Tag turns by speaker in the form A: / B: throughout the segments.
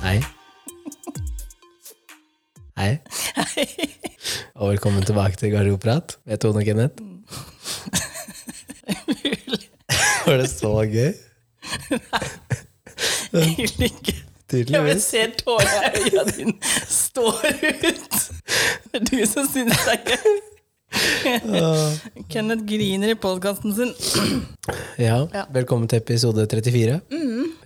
A: Hei. Hei. Og velkommen tilbake til Garderobeprat med Tone og Kenneth. Var det så gøy?
B: Egentlig ikke. Jeg bare
A: Tydeligvis.
B: ser tårene i øynene dine står ut. Det er du som syns det er gøy. Kenneth griner i podkasten sin.
A: Ja,
B: Ja.
A: Velkommen til episode 34.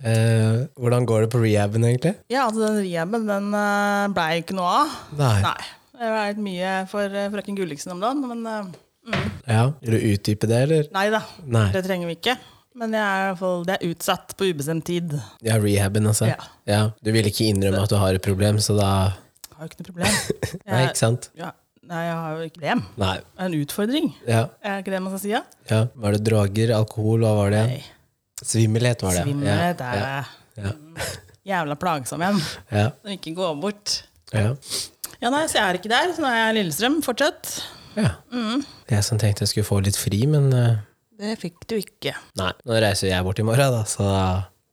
A: Eh, hvordan går det på rehaben, egentlig?
B: Ja, altså den rehaben den eh, blei ikke noe av.
A: Nei.
B: Nei. Det har vært mye for eh, frøken Gulliksen om dagen, men eh, mm,
A: Ja, Vil du utdype det, eller?
B: nei da.
A: Nei.
B: Det trenger vi ikke. Men jeg er i hvert fall, det er utsatt på ubestemt tid.
A: Ja, rehaben, altså.
B: Ja.
A: Ja, Du vil ikke innrømme at du har et problem, så da
B: Jeg har jo ikke noe problem.
A: Nei, ikke sant?
B: Ja, nei, jeg har jo ikke problem.
A: Nei.
B: Det er en utfordring.
A: Ja.
B: Er det ikke det man skal si? Ja?
A: ja. Var det droger, alkohol, hva var det?
B: Nei.
A: Svimmelhet, var det. ja.
B: Svimmelhet er
A: ja. ja.
B: jævla plagsom en.
A: Ja,
B: Når ikke går bort.
A: ja.
B: Ja, nei, så jeg er ikke der. Så nå er jeg i Lillestrøm fortsatt.
A: ja.
B: Mm.
A: Jeg som tenkte jeg skulle få litt fri, men eh,
B: Det fikk du ikke.
A: nei. Nå reiser jeg bort i morgen, da, så,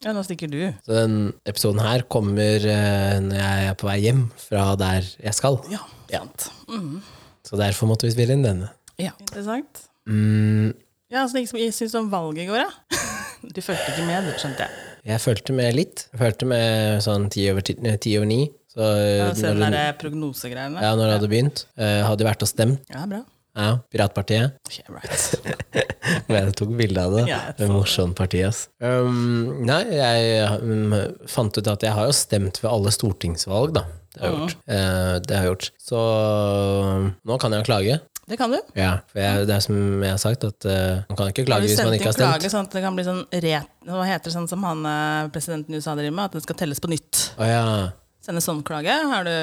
B: Ja, nå stikker du.
A: så den episoden her kommer eh, når jeg er på vei hjem fra der jeg skal.
B: Ja, sant. Mhm.
A: Så derfor måtte vi spille inn denne.
B: Ja. Interessant.
A: Mm,
B: Ja, så liksom, jeg syns om valget i går, da. Du fulgte ikke med, du, skjønte jeg.
A: jeg fulgte med litt. Jeg fulgte med sånn ti over, ti, nei, ti over ni. Så eh,
B: Ja, Se den
A: når,
B: der eh, prognosegreiene.
A: ja, når det hadde begynt, eh, hadde vært og stemt.
B: Ja, bra.
A: Ja, Piratpartiet.
B: Yeah, right.
A: Men jeg tok bilde av det.
B: Ja, jeg
A: det er morsomt parti, ass. Um, nei, jeg um, fant ut at jeg har jo stemt ved alle stortingsvalg, da. Det har jeg gjort. Eh, det har jeg gjort. Så um, nå kan jeg jo klage.
B: Det kan du.
A: Ja, for jeg, det er som jeg har sagt, at eh, man kan ikke
B: Har
A: klage
B: du
A: hvis man
B: sendt
A: ikke
B: inn
A: har stemt.
B: klage sånn at det kan bli sånn ret... Hva heter det sånn som han eh, presidenten i USA driver med? At den skal telles på nytt.
A: Å ja.
B: Sende sånn klage? Har du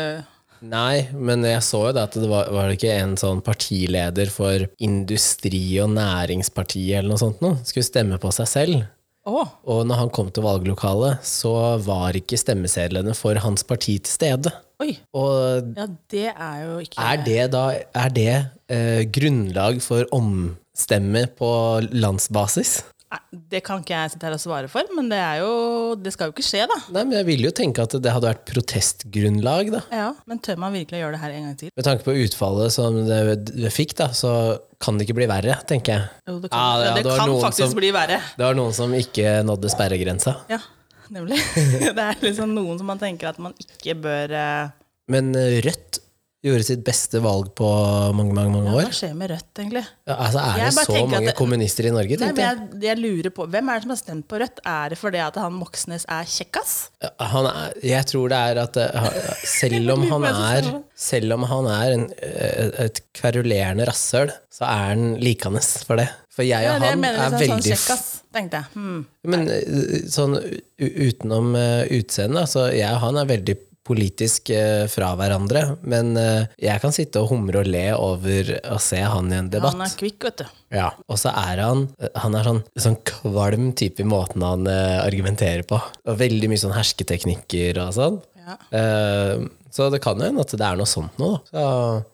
A: Nei, men jeg så jo da at det var, var det ikke en sånn partileder for Industri- og Næringspartiet eller noe sånt nå, skulle stemme på seg selv.
B: Å!
A: Og når han kom til valglokalet, så var ikke stemmesedlene for hans parti til stede.
B: oi!
A: Og
B: Ja, det er jo ikke
A: er det da er det, eh, grunnlag for omstemme på landsbasis?
B: Nei, Det kan ikke jeg sitte her og svare for, men det er jo Det skal jo ikke skje, da.
A: Nei, men jeg ville jo tenke at det hadde vært protestgrunnlag, da.
B: Ja, Men tør man virkelig å gjøre det her en gang til?
A: Med tanke på utfallet som det, det fikk, da, så kan det ikke bli verre, tenker jeg.
B: Jo, det kan,
A: Ah, Ja,
B: ja,
A: ja,
B: det
A: det var
B: kan
A: noen
B: faktisk
A: som-
B: bli verre.
A: Det var noen som ikke nådde sperregrensa.
B: Ja, nemlig. det er liksom noen som man tenker at man ikke bør eh,
A: Men eh, Rødt gjorde sitt beste valg på mange, mange, mange
B: Hva
A: år.
B: skjer med Rødt, egentlig?
A: Ja, altså, er
B: Jeg
A: det
B: bare
A: så
B: tenker at
A: mange
B: det-
A: kommunister i Norge,
B: Nei,
A: tenkte
B: men
A: jeg.
B: jeg, jeg lurer på, Hvem er det som har stemt på Rødt? Er det fordi at han Moxnes er kjekkas?
A: Ja, han er, jeg tror det er at eh, ha- selv om han er, selv om han er en, eh, et kverulerende rasshøl, så er han likende for det. For jeg
B: Ja,
A: og
B: det
A: han
B: mener
A: er
B: liksom sånn
A: veldig f-
B: kjekkas, tenkte jeg. Hmm.
A: Men eh, sånn u- utenom eh, utseendet, så jeg og han er veldig politisk eh, fra hverandre. Men eh, jeg kan sitte og humre og le over å se han i en
B: Han
A: debatt.
B: er kvikk, vet du.
A: Ja. Og så er han Han er sånn, sånn kvalm type i måten han eh, argumenterer på. Og veldig mye sånn hersketeknikker og sånn.
B: Ja.
A: Eh, så det kan jo hende at det er noe sånt nå, da. Så,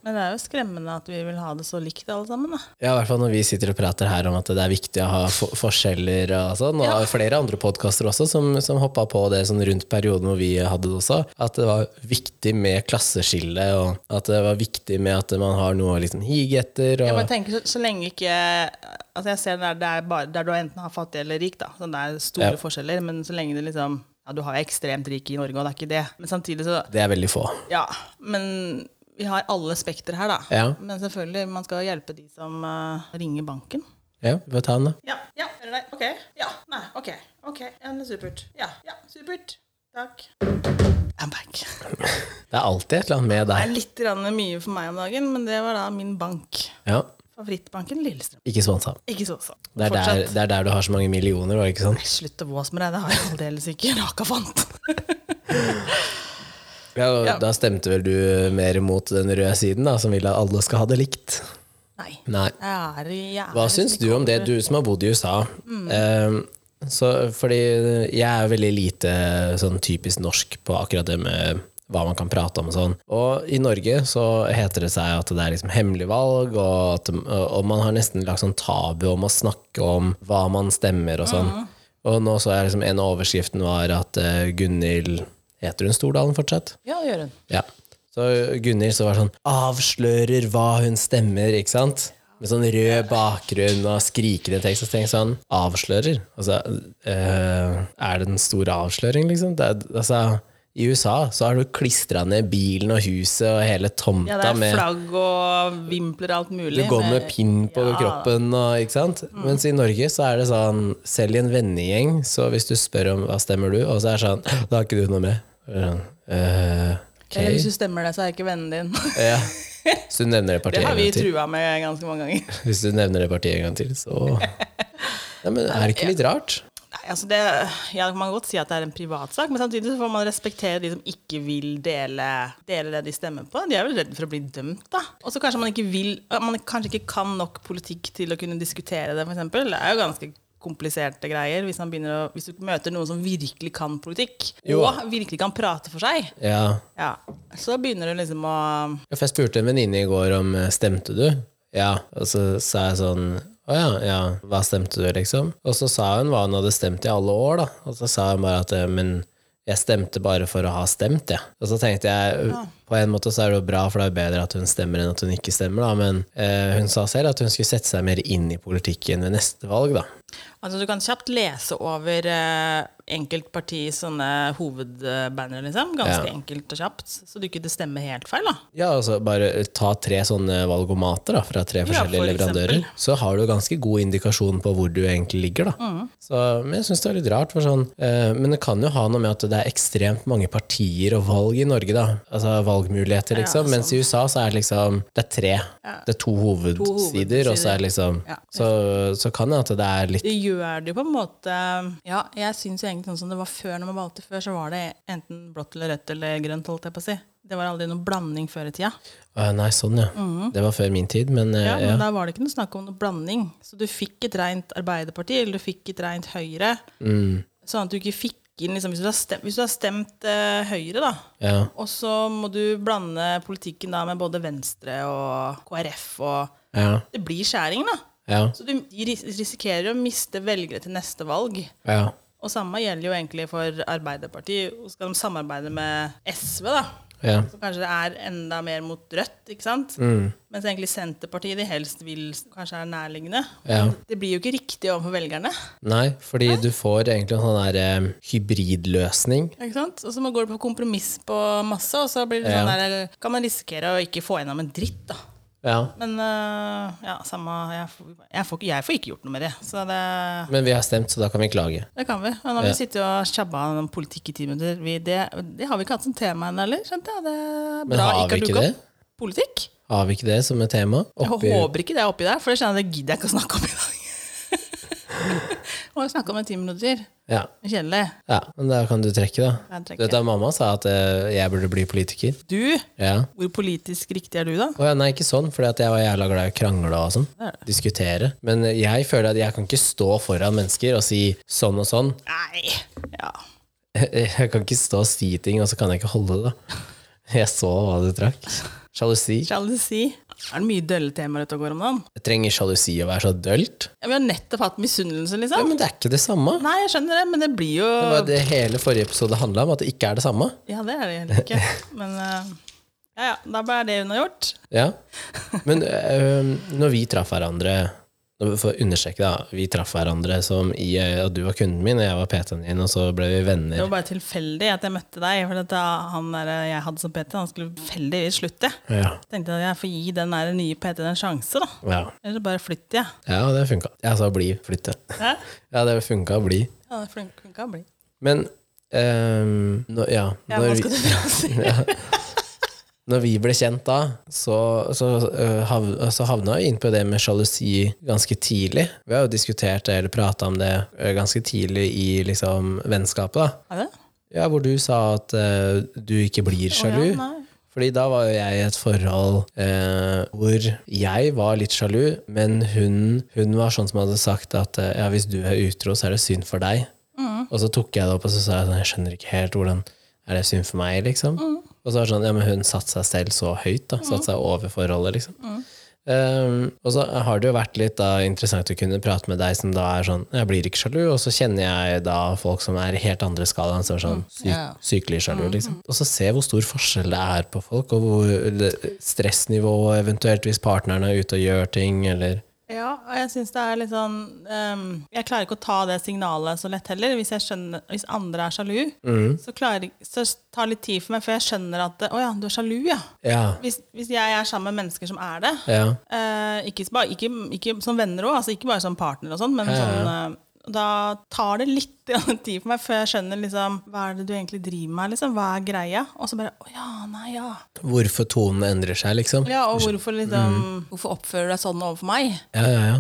B: Men det er jo skremmende at vi vil ha det så likt alle sammen. da.
A: ja, i hvert fall når vi sitter og prater her om at det er viktig å ha for forskjeller og sånn, og flere andre podkaster også som, som hoppa på det sånn rundt perioden hvor vi hadde det også, at det var viktig med klasseskille, og at det var viktig med at man har noe å liksom hige etter.
B: Jeg
A: Og,
B: bare tenker, så, så lenge ikke Altså jeg ser der, det er bare, der du enten har fattig eller rik, da. Så det er store
A: Ja.
B: forskjeller, men så lenge det liksom Ja, du har jo ekstremt rike i Norge, og det er ikke det. Men samtidig så
A: det er veldig få.
B: Ja. Men vi har alle spekter her, da.
A: Ja.
B: Men selvfølgelig, man skal hjelpe de som eh, ringer banken.
A: Ja, vi får ta den, da.
B: Ja. Ja. Hører deg. Ok. Ja. Nei. Ok. Ok. Ja, men supert. Ja. Ja. Supert. Takk. I'm back.
A: Det er alltid et eller annet med
B: Det
A: deg.
B: er litt grann mye for meg om dagen, men det var da min bank.
A: Ja,
B: Favorittbanken Lillestrøm.
A: ikke sponsa.
B: Ikke så sånn.
A: Det, er der- det er der du har så mange millioner, var det ikke sånn?
B: Slutt å våse med deg, det har jeg aldeles ikke raka fant.
A: Ja, og
B: Ja.
A: Da stemte vel du mer mot den røde siden, da, som vil at alle skal ha det likt.
B: Nei.
A: Nei.
B: Jeg er, jeg er
A: Hva
B: liksom
A: syns
B: ikke
A: du om det,
B: over-
A: du som har bodd i USA? Eh, så, fordi jeg er veldig lite sånn typisk norsk på akkurat det med hva man kan prate om og sånn. Og i Norge så heter det seg at det er liksom hemmelig valg, og, at, og man har nesten lagt sånn tabu om å snakke om hva man stemmer og sånn. Og nå så jeg liksom en av overskriften var at eh, Gunhild Heter hun Stordalen fortsatt?
B: Ja, gjør hun.
A: Ja. Så Gunhild så var sånn Avslører hva hun stemmer, ikke sant? Med sånn rød bakgrunn og skrikende tekst. Og så tenker jeg sånn Avslører? Altså, eh, er det en stor avsløring, liksom? Det, er- altså, I USA så har du klistra ned bilen og huset og hele tomta
B: Ja, det er
A: med
B: flagg og vimpler og alt mulig.
A: du går med
B: men-
A: pinn på
B: Ja, Mm.
A: kroppen, og, ikke sant? Mens i Norge så er det sånn, selv i en vennegjeng, så hvis du spør om hva stemmer du, og så er det sånn, da har ikke du noe med. Og jeg er Sånn, «Eh, ok.
B: Eller hvis du stemmer det, så er jeg ikke vennen din.
A: Ja. Hvis du nevner det
B: Det
A: partiet
B: har
A: en
B: vi
A: gang til.
B: trua med ganske mange ganger.
A: Hvis du nevner det partiet en gang til, så Nei, men er det ikke litt rart?
B: Nei, altså det, ja, Man kan godt si at det er en privatsak, men samtidig så får man respektere de som ikke vil dele, dele det de stemmer på. De er vel redde for å bli dømt, da. Og så kanskje man ikke vil Man kanskje ikke kan nok politikk til å kunne diskutere det, f.eks. Det er jo ganske kompliserte greier hvis, man begynner å, hvis du møter noen som virkelig kan politikk,
A: Jo.
B: og virkelig kan prate for seg.
A: Ja.
B: Ja, Så begynner du liksom å
A: Ja, for Jeg spurte en venninne i går om eh, stemte du? Ja, og så sa jeg sånn å ja, ja, hva stemte du, liksom? Og så sa hun hva hun hadde stemt i alle år, da. Og så sa hun bare at eh, men jeg stemte bare for å ha stemt, jeg. Og så tenkte jeg på en måte så er det jo bra, for det er bedre at hun stemmer enn at hun ikke stemmer, da. Men eh, hun sa selv at hun skulle sette seg mer inn i politikken ved neste valg, da.
B: Altså Du kan kjapt lese over eh, enkeltpartis sånne hovedbannere, liksom. Ganske
A: Ja.
B: enkelt og kjapt. Så du ikke det stemmer helt feil, da.
A: Ja, altså bare ta tre sånne valgomater da, fra tre forskjellige
B: for
A: leverandører,
B: eksempel.
A: så har du ganske god indikasjon på hvor du egentlig ligger. Da.
B: Mm.
A: Så, men jeg syns det er litt rart. For sånn, eh, men det kan jo ha noe med at det er ekstremt mange partier og valg i Norge. Da. Altså valgmuligheter, liksom.
B: sånn.
A: Mens i USA så er det liksom det er tre. Det er to hovedsider,
B: hovedsider.
A: og så er det liksom
B: Ja.
A: så, så kan det at det er litt
B: Det gjør det jo på en måte Ja, jeg syns jo egentlig sånn som det var før når man valgte før, så var det enten blått eller rødt eller grønt, holdt jeg på å si. Det var aldri noen blanding før i tida.
A: Å, Nei, sånn, ja. Det var før min tid, men, eh,
B: Mm. Ja,
A: ja.
B: men da var det ikke noe snakk om noe blanding. Så du fikk et rent Arbeiderparti, eller du fikk et rent Høyre.
A: Mm.
B: Sånn at du ikke fikk inn liksom, Hvis du har stemt, hvis du har stemt eh, Høyre, da,
A: ja.
B: og så må du blande politikken da med både Venstre og KrF og
A: Ja.
B: Det blir skjæring, da.
A: Ja.
B: Så du de ris- risikerer å miste velgere til neste valg.
A: ja.
B: Og samme gjelder jo egentlig for Arbeiderpartiet. Og skal de samarbeide med SV, da,
A: ja.
B: så kanskje det er enda mer mot Rødt, ikke sant? Mens egentlig Senterpartiet de helst vil kanskje er nærliggende.
A: Ja.
B: Det blir jo ikke riktig overfor velgerne.
A: Nei, fordi du får egentlig en sånn der eh, hybridløsning.
B: ikke sant? Og så må- går det på kompromiss på masse, og så blir det
A: Ja.
B: sånn der, kan man risikere å ikke få gjennom en dritt, da.
A: Ja.
B: Men øh, ja, samme jeg, får- jeg, får, ikke- jeg får ikke gjort noe med det. Så det,
A: Men vi har stemt, så da kan vi klage.
B: det kan vi. Og nå har vi sittet og tjabba om politikk i ti minutter. Vi, det, det har vi ikke hatt som tema ennå, eller? Skjønte jeg? Det er
A: Men
B: bra
A: har vi
B: ikke har
A: ikke
B: dukket
A: det?
B: opp. Politikk?
A: Har vi ikke det som et tema?
B: Jeg
A: Oppi,
B: håper ikke det er oppi der, for det kjenner jeg det gidder jeg ikke å snakke om i dag. Må jo snakke om det i ti minutter.
A: ja.
B: Kjedelig.
A: ja, men da kan du trekke, da.
B: Jeg
A: Du
B: trekker.
A: vet da mamma sa at eh, jeg burde bli politiker.
B: Du,
A: Ja.
B: hvor politisk riktig er du, da?
A: Å ja, nei, ikke sånn, for jeg var jævla glad i å krangle og sånn.
B: Det er det.
A: Diskutere. Men jeg føler at jeg kan ikke stå foran mennesker og si sånn og sånn.
B: Nei. Ja.
A: Jeg kan ikke stå og si ting, og så kan jeg ikke holde det. da. Jeg så hva du trakk. Sjalusi.
B: Sjalusi. Er det mye dølle temaer ute og går om dagen?
A: Jeg trenger sjalusi å være så dølt?
B: Ja, vi har nettopp hatt misunnelse,
A: Ja,
B: liksom.
A: men det er ikke det samme.
B: Nei, jeg skjønner det, men det blir jo
A: Det var det hele forrige episode handla om, at det ikke er det samme.
B: Ja, det er det heller ikke. Men eh, ja, ja, da ble det unnagjort.
A: Ja. Men øh, når vi traff hverandre nå For å understreke, da. Vi traff hverandre som i øh, at du var kunden min, og jeg var PT-en din, og så ble vi
B: Det var
A: venner.
B: bare tilfeldig at jeg møtte deg. For at da han der eh, jeg hadde som PT, han skulle tilfeldigvis slutte.
A: Ja.
B: Tenkte at jeg får gi den der nye PT-en en sjanse, da.
A: Ja,
B: Eller så bare flytter jeg.
A: ja det funka. Jeg sa bli, flytte.
B: Hæ?
A: Ja, det funka å bli.
B: Ja, det flunk- funka å bli.
A: Men øh, nå- Ja.
B: Ja, hva
A: Når vi,
B: skal du dra og si?
A: når vi ble kjent da, så, så, øh, hav, så havna vi inn på det med sjalusi ganske tidlig. Vi har jo diskutert det, eller prata om det, øh, ganske tidlig i liksom vennskapet, da.
B: Er det?
A: Ja, hvor du sa at eh, du ikke blir
B: Å, ja,
A: sjalu.
B: nei.
A: Fordi da var jo jeg i et forhold eh, hvor jeg var litt sjalu, men hun, hun var sånn som hadde sagt at eh, ja, hvis du er utro, så er det synd for deg.
B: Mm.
A: Og så tok jeg det opp og så sa jeg sånn, jeg skjønner ikke helt hvordan er det synd for
B: Mm. Mm.
A: meg, liksom. Og så var det sånn, ja, men hun satte seg selv så høyt, da. Satte seg over forholdet, liksom. Ehm, og så har det jo vært litt da, interessant å kunne prate med deg som da er sånn Jeg blir ikke sjalu, og så kjenner jeg da folk som er i helt andre skalaen, som er sånn sy
B: Mm. ja. Mm,
A: sykelig sjalu, liksom. Og så se hvor stor forskjell det er på folk, og hvor det- stressnivået, eventuelt hvis partneren er ute og gjør ting, eller
B: Ja, og jeg synes det er litt sånn ehm, Jeg klarer ikke å ta det signalet så lett heller. Hvis, jeg skjønner, hvis andre er sjalu, så, klarer, så tar det litt tid for meg, for jeg skjønner at det- Å ja, du er sjalu, ja.
A: Ja.
B: Hvis, hvis jeg er sammen med mennesker som er det,
A: Ja.
B: eh, ikke, s- bare- ikke, ikke som venner òg, altså ikke bare som partner og sånn, men
A: ja, ja.
B: sånn eh, da tar det litt grann tid for meg før jeg skjønner liksom, hva er det du egentlig driver med. Liksom, hva er greia? Og så bare Å ja, nei, ja.
A: Hvorfor tonen endrer seg, liksom.
B: ja og hvorfor,
A: Mm.
B: liksom, hvorfor oppfører du deg sånn overfor meg?
A: Ja, ja, ja.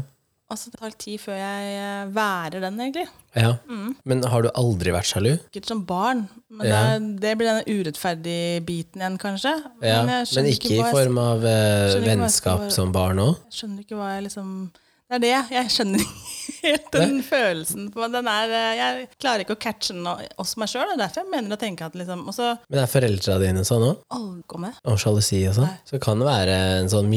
B: Altså, det tar litt tid før jeg eh, værer den, egentlig.
A: ja.
B: Mm.
A: Men har du aldri vært sjalu?
B: Sikkert som barn, men
A: Ja.
B: det, det blir den urettferdige biten igjen, kanskje.
A: Ja.
B: jeg
A: Men,
B: skjønner
A: ikke, i
B: hva jeg-
A: form av eh,
B: skjønner ikke hva jeg skal
A: vennskap
B: være-
A: som barn òg?
B: Jeg skjønner ikke hva jeg liksom Det er det. Jeg skjønner ikke helt den følelsen. på- Den er, eh, jeg klarer ikke å catche den nå- hos meg sjøl. Det er derfor jeg mener å tenke at liksom Og så
A: Men er foreldra dine sånn òg?
B: aldri gå med.
A: om sjalusi og sånn, så kan det være en sånn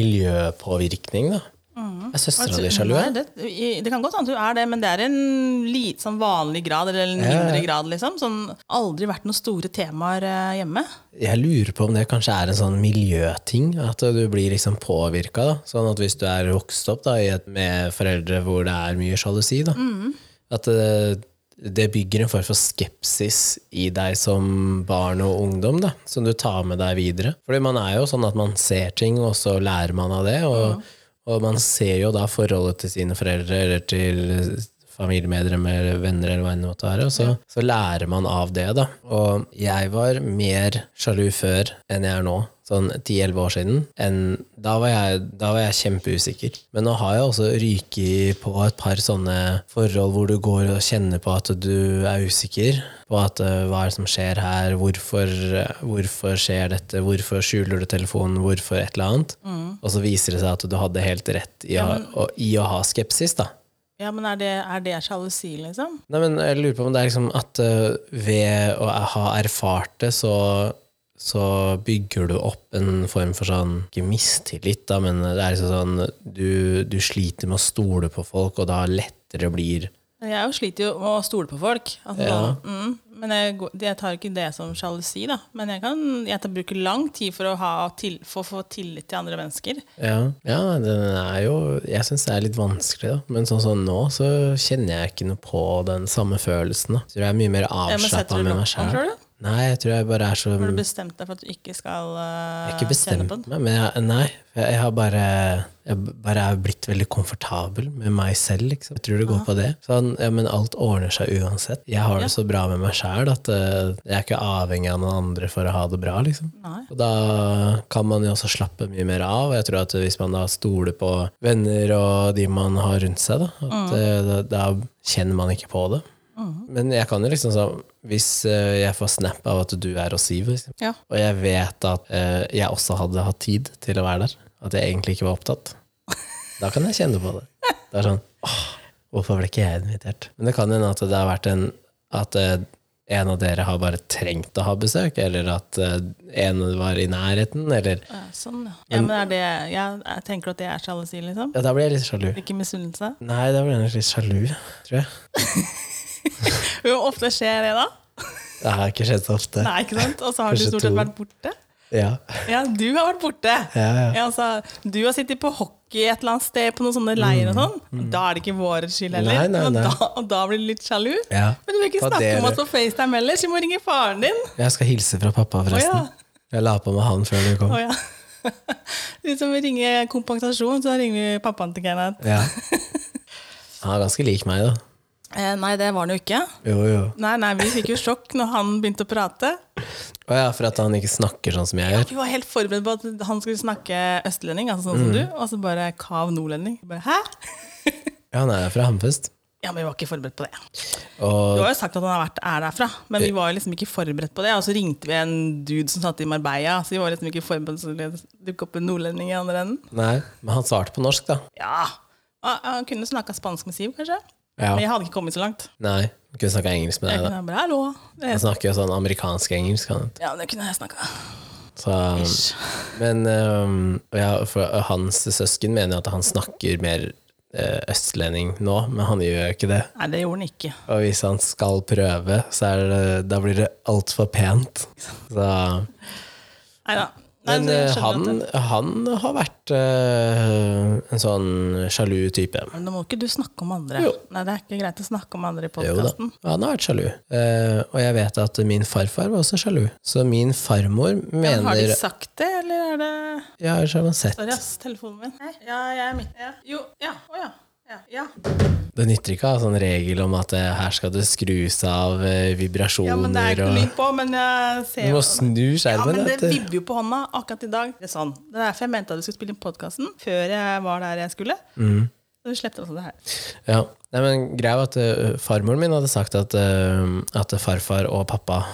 A: miljøpåvirkning, da.
B: Mm.
A: Er søstera di sjalu?
B: Altså, Nei,
A: ja?
B: det, i- det kan godt hende at du er det, men det er en lite sånn vanlig grad, eller en
A: ja.
B: mindre grad, liksom. Sånn aldri vært noen store temaer eh, hjemme.
A: Jeg lurer på om det kanskje er en sånn miljøting, at du blir liksom påvirka. da. Sånn at hvis du er vokst opp da, i et, med foreldre hvor det er mye sjalusi, da,
B: Mm.
A: at det, det bygger en form for skepsis i deg som barn og ungdom, da, som du tar med deg videre. Fordi man er jo sånn at man ser ting, og så lærer man av det. og Og man ser jo da forholdet til sine foreldre eller til familiemedlemmer eller venner, eller hva enn det måtte være, og så, så lærer man av det. da. Og jeg var mer sjalu før enn jeg er nå, sånn 10-11 år siden. enn- da, var jeg, da var jeg kjempeusikker. Men nå har jeg også ryket på et par sånne forhold hvor du går og kjenner på at du er usikker på at eh, hva er det som skjer her, hvorfor, eh, hvorfor skjer dette, hvorfor skjuler du telefonen, hvorfor et eller annet. Og så viser det seg at du hadde helt rett i, å, å, i å ha skepsis, da.
B: Ja, men er det, er det sjalusi, liksom?
A: Nei, men jeg lurer på om det er liksom at eh, ved å ha erfart det, så, så bygger du opp en form for sånn Ikke mistillit, da, men det er liksom sånn du, du sliter med å stole på folk, og da lettere blir
B: Jeg jo sliter jo med å stole på folk. Altså, mm, men jeg, går- jeg tar ikke det som sjalusi, da. Men jeg, kan, jeg tar- bruker lang tid for å, ha til, for å få tillit til andre mennesker.
A: Ja, ja den er jo Jeg syns det er litt vanskelig, da. Men sånn som nå, så kjenner jeg ikke noe på den samme følelsen. da. Så jeg er mye mer
B: Ja, men setter
A: avslappa
B: du
A: med
B: lokk
A: meg
B: på den,
A: sjøl.
B: tror du?
A: Nei, jeg tror jeg bare er så
B: Har du bestemt deg for at du ikke skal
A: Jeg
B: eh,
A: har ikke
B: kjenne
A: bestemt
B: på den?
A: meg, men jeg, nei. for Jeg, jeg har bare jeg bare er blitt veldig komfortabel med meg selv, liksom. Jeg tror det går på det. Sånn, ja, men alt ordner seg uansett. Jeg har det så bra med meg sjæl at eh, jeg er ikke avhengig av noen andre for å ha det bra, liksom.
B: Nei.
A: Og da kan man jo også slappe mye mer av. og Jeg tror at hvis man da stoler på venner og de man har rundt seg, da, at, eh, da, da kjenner man ikke på det. Men jeg kan jo liksom sånn Hvis eh, jeg får snap av at du er hos Siv, liksom,
B: Ja.
A: og jeg vet at eh, jeg også hadde hatt tid til å være der. At jeg egentlig ikke var opptatt. Da kan jeg kjenne på det. Det er sånn åh, Hvorfor ble ikke jeg invitert? Men det kan hende at det har vært en At eh, en av dere har bare trengt å ha besøk, eller at eh, en var i nærheten, eller
B: Ja, sånn, ja. ja men er det, jeg, jeg tenker at det er sjalusi, liksom?
A: Ja, da blir jeg litt sjalu.
B: Ikke misunnelse?
A: Nei, da blir jeg litt sjalu, tror jeg.
B: Hvor ofte skjer det, da?
A: Det har ikke skjedd så ofte.
B: Nei, ikke sant? Og så har du
A: Kanskje
B: stort sett
A: to.
B: vært borte?
A: Ja.
B: Ja, du har vært borte.
A: Ja, ja.
B: altså, du har sittet på hockey et eller annet sted på noen sånne leirer og sånn. Da er det ikke vår skyld
A: Mm.
B: heller.
A: Nei, nei,
B: Og,
A: nei.
B: da, og da blir du litt sjalu.
A: Ja.
B: Men du vil ikke
A: Ta
B: snakke om
A: dere.
B: oss på FaceTime ellers. Vi må ringe faren din.
A: Jeg skal hilse fra pappa, forresten.
B: Å,
A: Jeg la på med han før du kom.
B: Å ja. Hvis vi ringer kompensasjon, så ringer vi pappaen til Kenneth.
A: Ja. Han er ganske lik meg, da.
B: Eh, nei, det var han jo ikke.
A: Jo, jo.
B: Nei, nei, Vi fikk jo sjokk når han begynte å prate.
A: Å ja, for at han ikke snakker sånn som jeg gjør.
B: Vi var helt forberedt på at han skulle snakke østlending,
A: Mm.
B: altså sånn som du, og så bare kav nordlending. Bare, Hæ?
A: Ja, han er jo fra Hammerfest.
B: Ja, men vi var ikke forberedt på det. Du
A: Og Eh.
B: har jo sagt at han har vært, er derfra, men vi var jo liksom ikke forberedt på det. Og så ringte vi en dude som satt i Marbella, så vi var liksom ikke forberedt på at det dukke opp en nordlending i andre enden.
A: nei, men han svarte på norsk, da.
B: Ja, Ah, Han kunne snakka spansk med Siv, kanskje.
A: Ja.
B: Men jeg hadde ikke kommet så langt.
A: Nei, han kunne snakka engelsk med
B: Jeg
A: deg, da.
B: kunne bare, hallo. Det-
A: Han snakker jo sånn amerikansk engelsk. Han.
B: Ja, det kunne jeg snakka.
A: Så,
B: Ish.
A: men øhm, ja, for hans søsken mener at han snakker mer eh, østlending nå, men han gjør jo ikke det.
B: Nei, det gjorde han ikke.
A: Og hvis han skal prøve, så er det, da blir det altfor pent. Så,
B: Neida. Nei
A: men
B: så jeg
A: eh,
B: skjønner at
A: han,
B: det-
A: han har vært eh, en sånn sjalu type.
B: Men nå må ikke du snakke om andre.
A: Jo.
B: Nei, det er ikke greit å snakke om andre i
A: Jo da,
B: podkasten.
A: han har vært sjalu. Eh, og jeg vet at min farfar var også sjalu. Så min farmor mener
B: Har de sagt det, eller er det
A: Ja, ellers har man sett.
B: Sorry, ass, telefonen min.
C: Nei, ja, jeg er midt ja. Jo, ja. Å ja. Ja. ja.
A: Det nytter ikke å ha sånn regel om at eh, her skal det skrus av eh, vibrasjoner
B: Ja, men det er ikke noe
A: og
B: lyd på, men jeg ser
A: Du må
B: jo
A: snu
B: Ja,
A: skjermen.
B: men det
A: vet du.
B: vibber jo på hånda akkurat i dag. Det er sånn. Det er derfor jeg mente at du skulle spille inn podkasten før jeg var der jeg skulle.
A: Mm.
B: Så du slepte også det her.
A: Ja. Nei, men greia var at eh, farmoren min hadde sagt at, eh, at farfar og pappa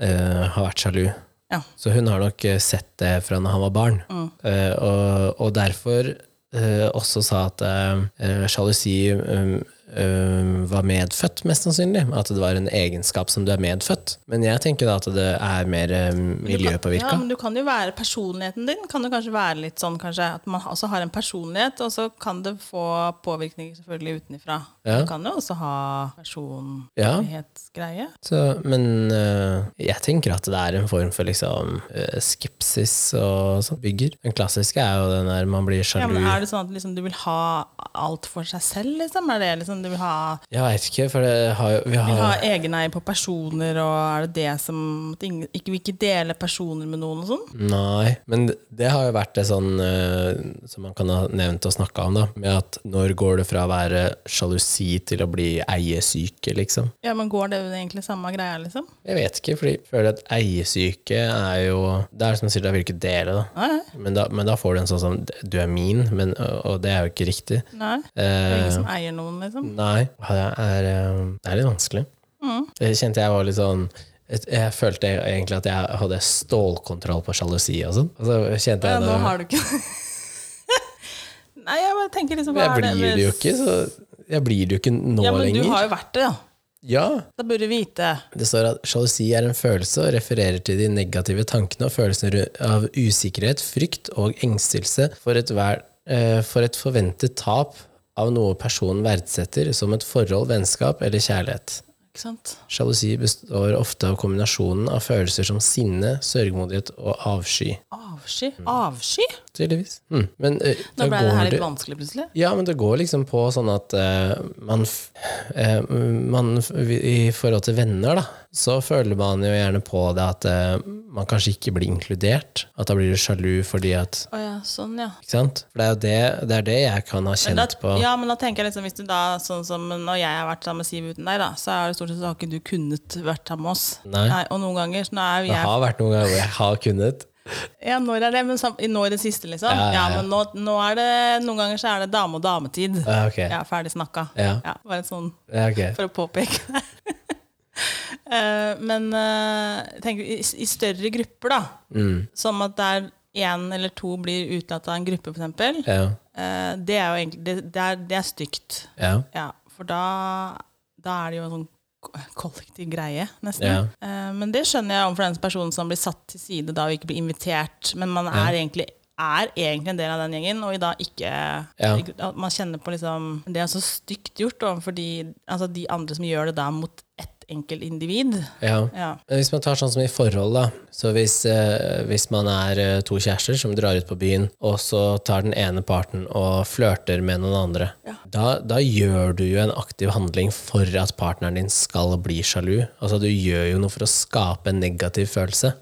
A: eh, har vært sjalu.
B: Ja.
A: Så hun har nok eh, sett det fra når han var barn.
B: Mm.
A: Eh, og, og derfor eh, også sa at eh, sjalusi um, um, var medfødt, mest sannsynlig. At det var en egenskap som du er medfødt. Men jeg tenker da at det er mer um,
B: Ja,
A: miljøpåvirka.
B: men du kan jo være personligheten din. Kan jo kanskje være litt sånn kanskje, at man også har en personlighet, og så kan det få påvirkninger selvfølgelig utenifra.
A: Ja.
B: Du kan jo også ha personlighetsgreie.
A: Så, men øh, jeg tenker at det er en form for liksom øh, skepsis og sånn bygger. Den klassiske er jo den der man blir
B: Ja,
A: sjalu.
B: men er det sånn at liksom, du vil ha alt for seg selv, liksom? Er det liksom du vil ha
A: Jeg veit ikke, for det har jo vi
B: vil
A: har,
B: ha egeneie på personer, og er det det som at ingen- ikke, Vil ikke dele personer med noen og sånn?
A: Nei, men det- det har jo vært det sånn øh, som man kan ha nevnt og snakka om, da. Med at når går det fra å være sjalusi til å bli eiesyke, liksom?
B: Ja, men går det jo egentlig samme greia, liksom?
A: Jeg vet ikke, for jeg føler at eiesyke er jo Det er som du sier, det vil ikke dele, da.
B: Nei,
A: Men, da. men da får du en sånn som Du er min, men, og, og det er jo ikke riktig.
B: nei. Det er
A: Eh,
B: ingen som eier noen, liksom?
A: Nei, ja, det er, eh, det er litt vanskelig.
B: Mm.
A: Jeg kjente jeg var litt sånn jeg- Jeg følte egentlig at jeg hadde stålkontroll på sjalusi og sånn. Og så kjente
B: Ja,
A: jeg
B: nå
A: da
B: har du ikke Nei, jeg bare tenker liksom hva
A: Jeg
B: er
A: blir
B: med-
A: det jo ikke, så jeg blir det jo ikke nå
B: Ja, men
A: lenger.
B: du har jo vært det, da.
A: Ja.
B: Da burde du vite.
A: Det står at sjalusi er en følelse og refererer til de negative tankene og følelsene ru- av usikkerhet, frykt og engstelse for et, vær, eh, for et forventet tap av noe personen verdsetter, som et forhold, vennskap eller kjærlighet.
B: Ikke sant?
A: Sjalusi består ofte av kombinasjonen av følelser som sinne, sørgmodighet og avsky.
B: Avsky? Avsky?
A: Tydeligvis. Mm. Men, eh, Mm. da
B: Nå ble det
A: går
B: her litt vanskelig, plutselig.
A: ja, men det går liksom på sånn at eh, man, f- eh, man f- I forhold til venner, da, så føler man jo gjerne på det at eh, man kanskje ikke blir inkludert. At da blir du sjalu fordi at
B: Å ja, sånn, ja.
A: Ikke sant? For det er jo det, det, er det jeg kan ha
B: Men da,
A: kjent på.
B: ja, men da tenker jeg liksom Hvis du da, sånn som når jeg har vært sammen med Siv uten deg, da, så er det stort sett så har ikke du kunnet vært sammen med oss.
A: Nei.
B: og noen ganger så nå er jo
A: Det
B: jeg
A: har vært noen ganger hvor jeg har kunnet.
B: Ja, når er det? Men sam, nå i det siste, liksom? Ja,
A: Ja, ja, ja.
B: men nå, nå er det Noen ganger så er det dame og dametid.
A: Ja, Ah, ok.
B: Jeg er ferdig snakka.
A: Ja.
B: bare sånn
A: Ja, ok.
B: for å påpeke det. Eh, men eh, tenk i, i større grupper, da,
A: Mm.
B: som at der én eller to blir utelatt av en gruppe, f.eks.,
A: Ja.
B: uh, det er jo egentlig det, det, er, det er stygt.
A: Ja.
B: Ja, for da, da er det jo en sånn ko- kollektiv greie, nesten.
A: Ja.
B: Eh, men det skjønner jeg overfor den personen som blir satt til side da og ikke blir invitert. Men man er, egentlig, er egentlig en del av den gjengen, og da ikke ikke- at Man kjenner på liksom Det er så stygt gjort overfor de, altså de andre som gjør det da mot ett enkelt individ.
A: ja.
B: Ja.
A: Men hvis man tar sånn som i forhold, da. Så hvis, eh, hvis man er eh, to kjærester som drar ut på byen, og så tar den ene parten og flørter med noen andre, da, da gjør du jo en aktiv handling for at partneren din skal bli sjalu. Altså du gjør jo noe for å skape en negativ følelse.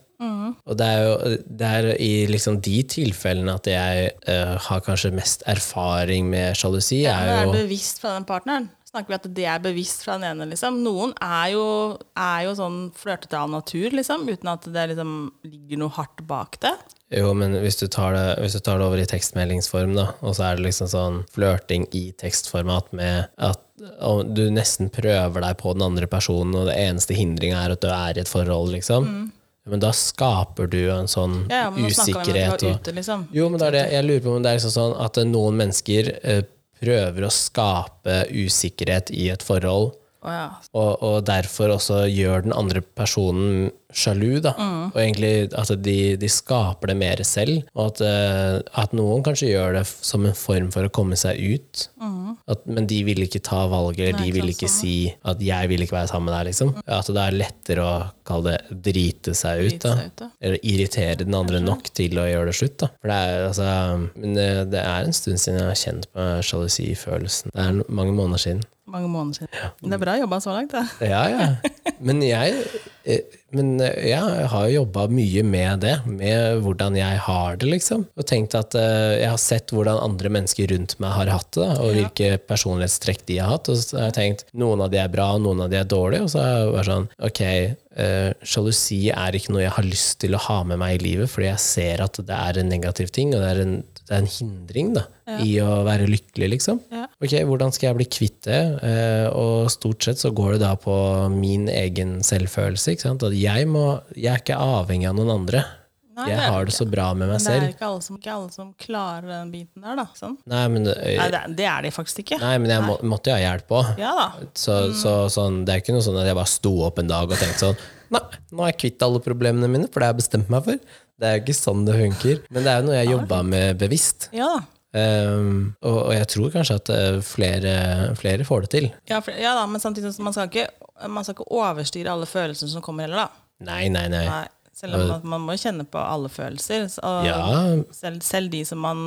A: Og det er jo det er i liksom de tilfellene at jeg eh, har kanskje mest erfaring med sjalusi.
B: Men
A: er jo
B: det er bevisst fra den partneren. Snakker vi at det er bevisst fra den ene, liksom. Noen er jo, er jo sånn flørtete av natur, liksom, uten at det liksom ligger noe hardt bak det.
A: Jo, men hvis du tar det, hvis du tar det over i tekstmeldingsform, da, og så er det liksom sånn flørting i tekstformat med at og du nesten prøver deg på den andre personen, og det eneste hindringa er at du er i et forhold, liksom. Men da skaper du jo en sånn
B: Mm. Ja, ja, men nå snakker vi om
A: usikkerhet
B: at du var
A: og
B: ute, liksom.
A: Jo, men det er det, jeg lurer på om det er liksom sånn at noen mennesker eh, prøver å skape usikkerhet i et forhold
B: Å ja.
A: og, og derfor også gjør den andre personen sjalu. Da.
B: Mm.
A: Og egentlig at de, de skaper det mer selv, og at, eh, at noen kanskje gjør det f- som en form for å komme seg ut.
B: Mm.
A: At, men de vil ikke ta valget, eller de vil ikke
B: sånn.
A: si at 'jeg vil ikke være sammen med deg'. Liksom. At det er lettere å kalle det drite seg ut.
B: Mm. Drite
A: Da.
B: seg ut, ja.
A: Eller irritere den andre nok til å gjøre det slutt. Da. For det er, altså, men det, det er en stund siden jeg har kjent på sjalusifølelsen. Det er no- mange måneder siden.
B: Mange måneder siden. Men det er bra jobba så langt, da.
A: Ja, ja. Men jeg, eh, men jeg har jo jobba mye med det. Med hvordan jeg har det, liksom. Og tenkt at eh, jeg har sett hvordan andre mennesker rundt meg har hatt det, da, og hvilke personlighetstrekk de har hatt. Og så har jeg tenkt noen av de er bra, og noen av de er dårlige. Og så har jeg vært sånn Ok, eh, sjalusi er ikke noe jeg har lyst til å ha med meg i livet, fordi jeg ser at det er en negativ ting, og det er en, det er en hindring da, i å være lykkelig, liksom.
B: Ja.
A: Ok, hvordan skal jeg bli kvitt det? Eh, og stort sett så går det da på min egen selvfølelse. ikke sant? At jeg, må, jeg er ikke avhengig av noen andre.
B: Nei, det
A: jeg
B: er du
A: har det så bra med meg
B: Men det er
A: selv.
B: ikke alle som, ikke alle som klarer den biten der, da. Sånn.
A: Nei, men, eh,
B: Nei, det, er- det er de faktisk ikke.
A: nei, men jeg må, måtte jo ha hjelp òg.
B: Ja Mm. da.
A: Så, så sånn, det er ikke noe sånn at jeg bare sto opp en dag og tenkte sånn Nei, nå er jeg kvitt alle problemene mine, for det har jeg bestemt meg for. Det er jo ikke sånn det funker. Men det er jo noe jeg jobba med bevisst.
B: Ja da.
A: Um, og, og jeg tror kanskje at eh, flere, flere får det til.
B: Ja, for, ja da, men samtidig så man skal ikke, man skal ikke overstyre alle følelsene som kommer heller, da.
A: Nei, nei, nei.
B: Nei, selv om man, man må jo kjenne på alle følelser. så- Og
A: Ja,
B: selv, selv de som man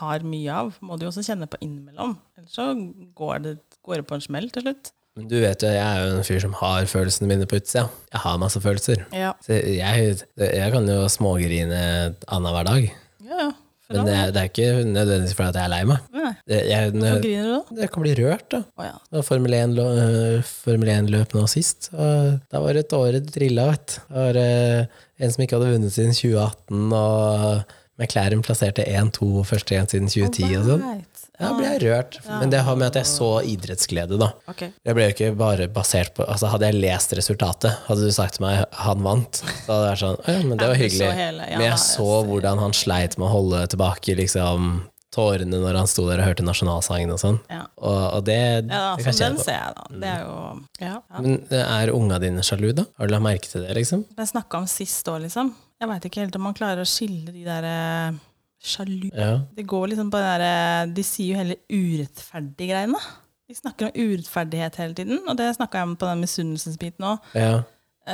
B: har mye av, må du jo også kjenne på innimellom. Ellers så går det, går det på en smell til slutt.
A: Men du vet jo, jeg er jo en fyr som har følelsene mine på utsida. Jeg har masse følelser.
B: Ja,
A: Så jeg, jeg kan jo smågrine annenhver dag.
B: ja. ja. For
A: Men det,
B: all
A: det er ikke nødvendigvis fordi at jeg er lei meg.
B: del. Nei.
A: Det- Jeg,
B: Hvorfor
A: når,
B: griner du da?
A: jeg kan bli rørt, da.
B: Å ja.
A: Da Formel 1 lå- øh, Formel 1-løp nå sist, og da var det tårer det trilla, vet du. Det var øh, en som ikke hadde vunnet siden 2018, og McLaren plasserte 1-2 første gang siden 2010 og sånn.
B: Right.
A: Da ble jeg rørt. Men det har med at jeg så idrettsglede, da.
B: Ok.
A: Det ble jo ikke bare basert på altså Hadde jeg lest resultatet, hadde du sagt til meg 'han vant', så hadde det vært sånn «Å ja, men det var
B: Ja, du
A: hyggelig.
B: så hele, ja,
A: men
B: jeg
A: jeg så
B: ser.
A: hvordan han sleit med å holde tilbake liksom, tårene når han sto der og hørte nasjonalsangen og sånn.
B: Ja.
A: Og, og det,
B: Ja, da,
A: det kan jeg
B: så den
A: kjenne på. Mm.
B: ser jeg, da. Det er jo ja. ja.
A: Men eh, er unga dine sjalu, da? Har du lagt merke til det, liksom?
B: Det jeg snakka om sist år, liksom. Jeg veit ikke helt om man klarer å skille de derre sjalu
A: Ja.
B: Det går liksom på det derre De sier jo heller urettferdige greiene. De snakker om urettferdighet hele tiden, og det snakka jeg om på den misunnelsesbiten òg.
A: ja.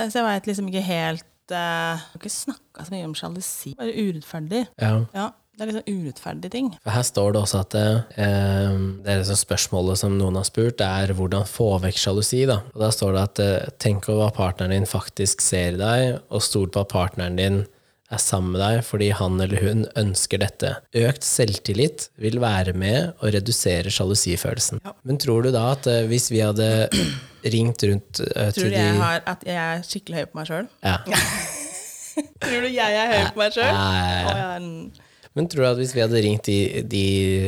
B: Så jeg veit liksom ikke helt eh, Jeg har ikke snakka så mye om sjalusi. Bare urettferdig.
A: ja.
B: Ja, det er liksom urettferdige ting.
A: For her står det også at eh, det er liksom spørsmålet som noen har spurt, er hvordan få vekk sjalusi. Da Og da står det at eh, tenk over hva partneren din faktisk ser i deg, og stol på at partneren din er sammen med deg fordi han eller hun ønsker dette. Økt selvtillit vil være med å redusere sjalusifølelsen. Men tror du da at eh, hvis vi hadde ringt rundt eh,
B: Tror
A: til
B: du
A: de
B: jeg har, at jeg er skikkelig høy på meg sjøl?
A: ja.
B: Tror du jeg er høy på meg sjøl?
A: Nei. Men tror du at hvis vi hadde ringt de, de,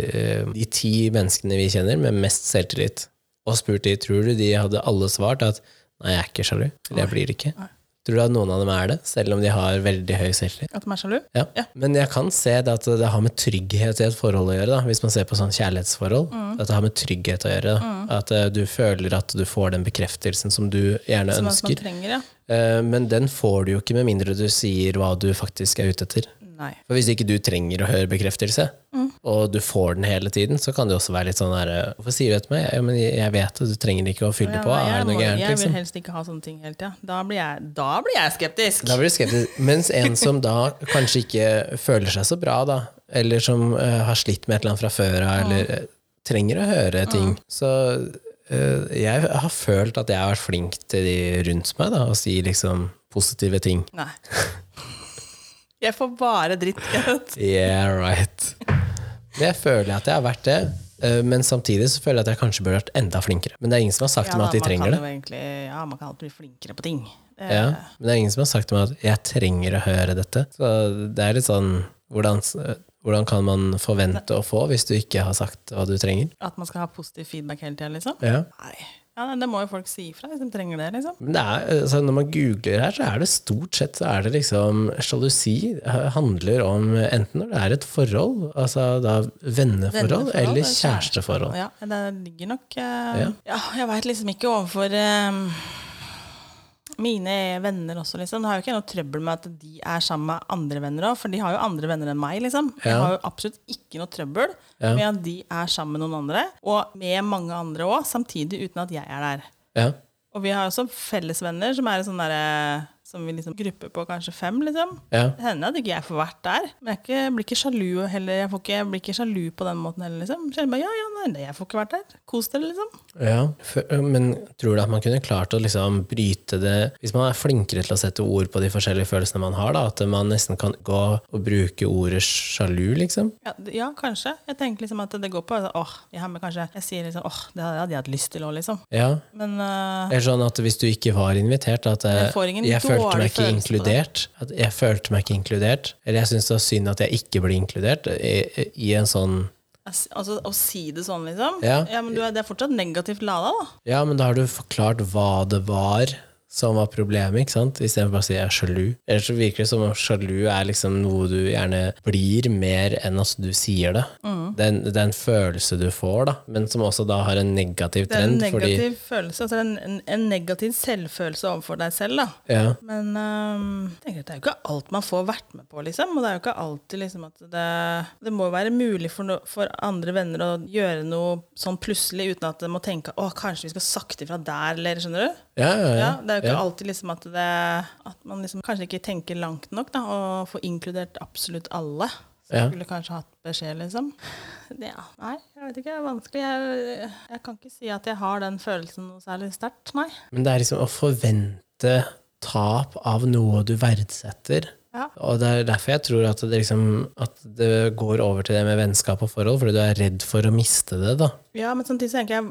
A: eh, de ti menneskene vi kjenner med mest selvtillit, og spurt de, tror du de hadde alle svart at nei, jeg er ikke sjalu, eller jeg blir det ikke? Tror du at noen av dem er det, selv om de har veldig høy selvtillit?
B: At de er sjalu?
A: Ja. Men jeg kan se det at det har med trygghet i et forhold å gjøre. Da. Hvis man ser på sånn kjærlighetsforhold. At det har med trygghet å gjøre. Da. At eh, du føler at du får den bekreftelsen som du gjerne
B: Som at man
A: ønsker.
B: trenger, ja.
A: Eh, Men den får du jo ikke med mindre du sier hva du faktisk er ute etter.
B: Nei.
A: For hvis ikke du trenger å høre bekreftelse, og du får den hele tiden, så kan det også være litt sånn her eh, Hvorfor sier du det til meg? Ja, men jeg vet det, du trenger ikke å fylle
B: Ja,
A: på.
B: nei,
A: Er
B: jeg,
A: det
B: må,
A: noe gærent,
B: jeg vil
A: liksom?
B: helst ikke ha sånne ting hele tida. Da, blir jeg- da blir jeg skeptisk.
A: Da blir du skeptisk. Mens en som da kanskje ikke føler seg så bra, da, eller som eh, har slitt med et eller annet fra før av, eller eh, trenger å høre ting. Så eh, jeg har følt at jeg har vært flink til de rundt meg, da, og si liksom positive ting.
B: Nei. Jeg får bare dritt.
A: Yeah, right. Men jeg føler at jeg har vært det, eh, men samtidig så føler jeg at jeg kanskje burde vært enda flinkere. Men det er ingen som har sagt
B: Ja,
A: til meg
B: da,
A: at de
B: man kan
A: trenger det.
B: jo egentlig, ja, man kan alltid bli flinkere på ting. Eh, Det-
A: Ja, men det er ingen som har sagt til meg at jeg trenger å høre dette. Så det er litt sånn Hvordan, hvordan kan man forvente å få hvis du ikke har sagt hva du trenger?
B: At man skal ha positiv feedback hele tida, liksom.
A: Ja.
B: Nei. Ja, nei, det må jo folk si ifra hvis de trenger det, liksom.
A: Men det er, altså, når man googler her, så er det stort sett så er det liksom sjalusi eh, handler om enten når det er et forhold, altså da venneforhold,
B: Venneforhold
A: eller
B: eller
A: kjæresteforhold.
B: Ja, det ligger nok eh,
A: Ja.
B: ja. jeg veit liksom ikke overfor eh, mine venner også, liksom. Det har jo ikke noe trøbbel med at de er sammen med andre venner òg, for de har jo andre venner enn meg, liksom. Jeg
A: Ja.
B: har jo absolutt ikke noe trøbbel
A: Ja.
B: med at de er sammen med noen andre, og med mange andre òg, samtidig uten at jeg er der.
A: Ja.
B: Og vi har også fellesvenner som er en sånn derre som vi liksom gruppe på kanskje fem, liksom.
A: Ja.
B: Det hender at ikke jeg får vært der, men jeg er ikke, blir ikke sjalu heller. Jeg, får ikke, jeg blir ikke sjalu på den måten heller, liksom. Kjenner bare, ja, ja, nei, nei, jeg får ikke vært der. Kos dere, liksom.
A: ja. For- Men tror du at man kunne klart å liksom bryte det Hvis man er flinkere til å sette ord på de forskjellige følelsene man har, da, at man nesten kan gå og bruke ordet sjalu, liksom?
B: Ja, d- ja, kanskje. Jeg tenker liksom at det går på altså, åh, jeg har med kanskje, jeg sier liksom, åh, det hadde jeg hatt lyst til òg, liksom.
A: Ja.
B: Men øh,
A: Eller sånn at hvis du ikke var invitert, at eh,
B: Jeg får ingen
A: jeg følte
B: dårlig
A: meg ikke
B: følelse på det.
A: inkludert. At jeg følte meg ikke inkludert. Eller jeg syns det var synd at jeg ikke ble inkludert i, i en sånn
B: altså, å si det sånn, liksom.
A: Ja.
B: men du, er- det er fortsatt negativt lada, da.
A: Ja, men da har du forklart hva det var som var problemet, ikke sant? Istedenfor bare å si jeg er sjalu. Ellers så virker det som om sjalu er liksom noe du gjerne blir mer enn at du sier det.
B: Mm.
A: Det, er en, det er en følelse du får, da, men som også da har en negativ
B: Det er
A: trend.
B: en negativ følelse, altså en, en, en negativ selvfølelse overfor deg selv, da.
A: Fordi, ja.
B: Men øhm, jeg tenker at det er jo ikke alt man får vært med på, liksom. Og det er jo ikke alltid liksom at det Det må jo være mulig for, no, for andre venner å gjøre noe sånn plutselig uten at de må tenke å, kanskje vi skal sakte ifra der, eller skjønner du?
A: Ja, ja, ja.
B: Ja, det er jo ikke
A: ja.
B: alltid liksom at det At man liksom kanskje ikke tenker langt nok, da, og får inkludert absolutt alle. Så
A: Ja.
B: Skulle kanskje hatt beskjed, liksom. Det, ja. Nei, jeg vet ikke. Det er vanskelig. Jeg, jeg kan ikke si at jeg har den følelsen noe særlig sterkt, nei.
A: Men det er liksom å forvente tap av noe du verdsetter.
B: Ja.
A: Og det er derfor jeg tror at det, liksom, at det går over til det med vennskap og forhold, fordi du er redd for å miste det, da.
B: Ja, men samtidig så tenker jeg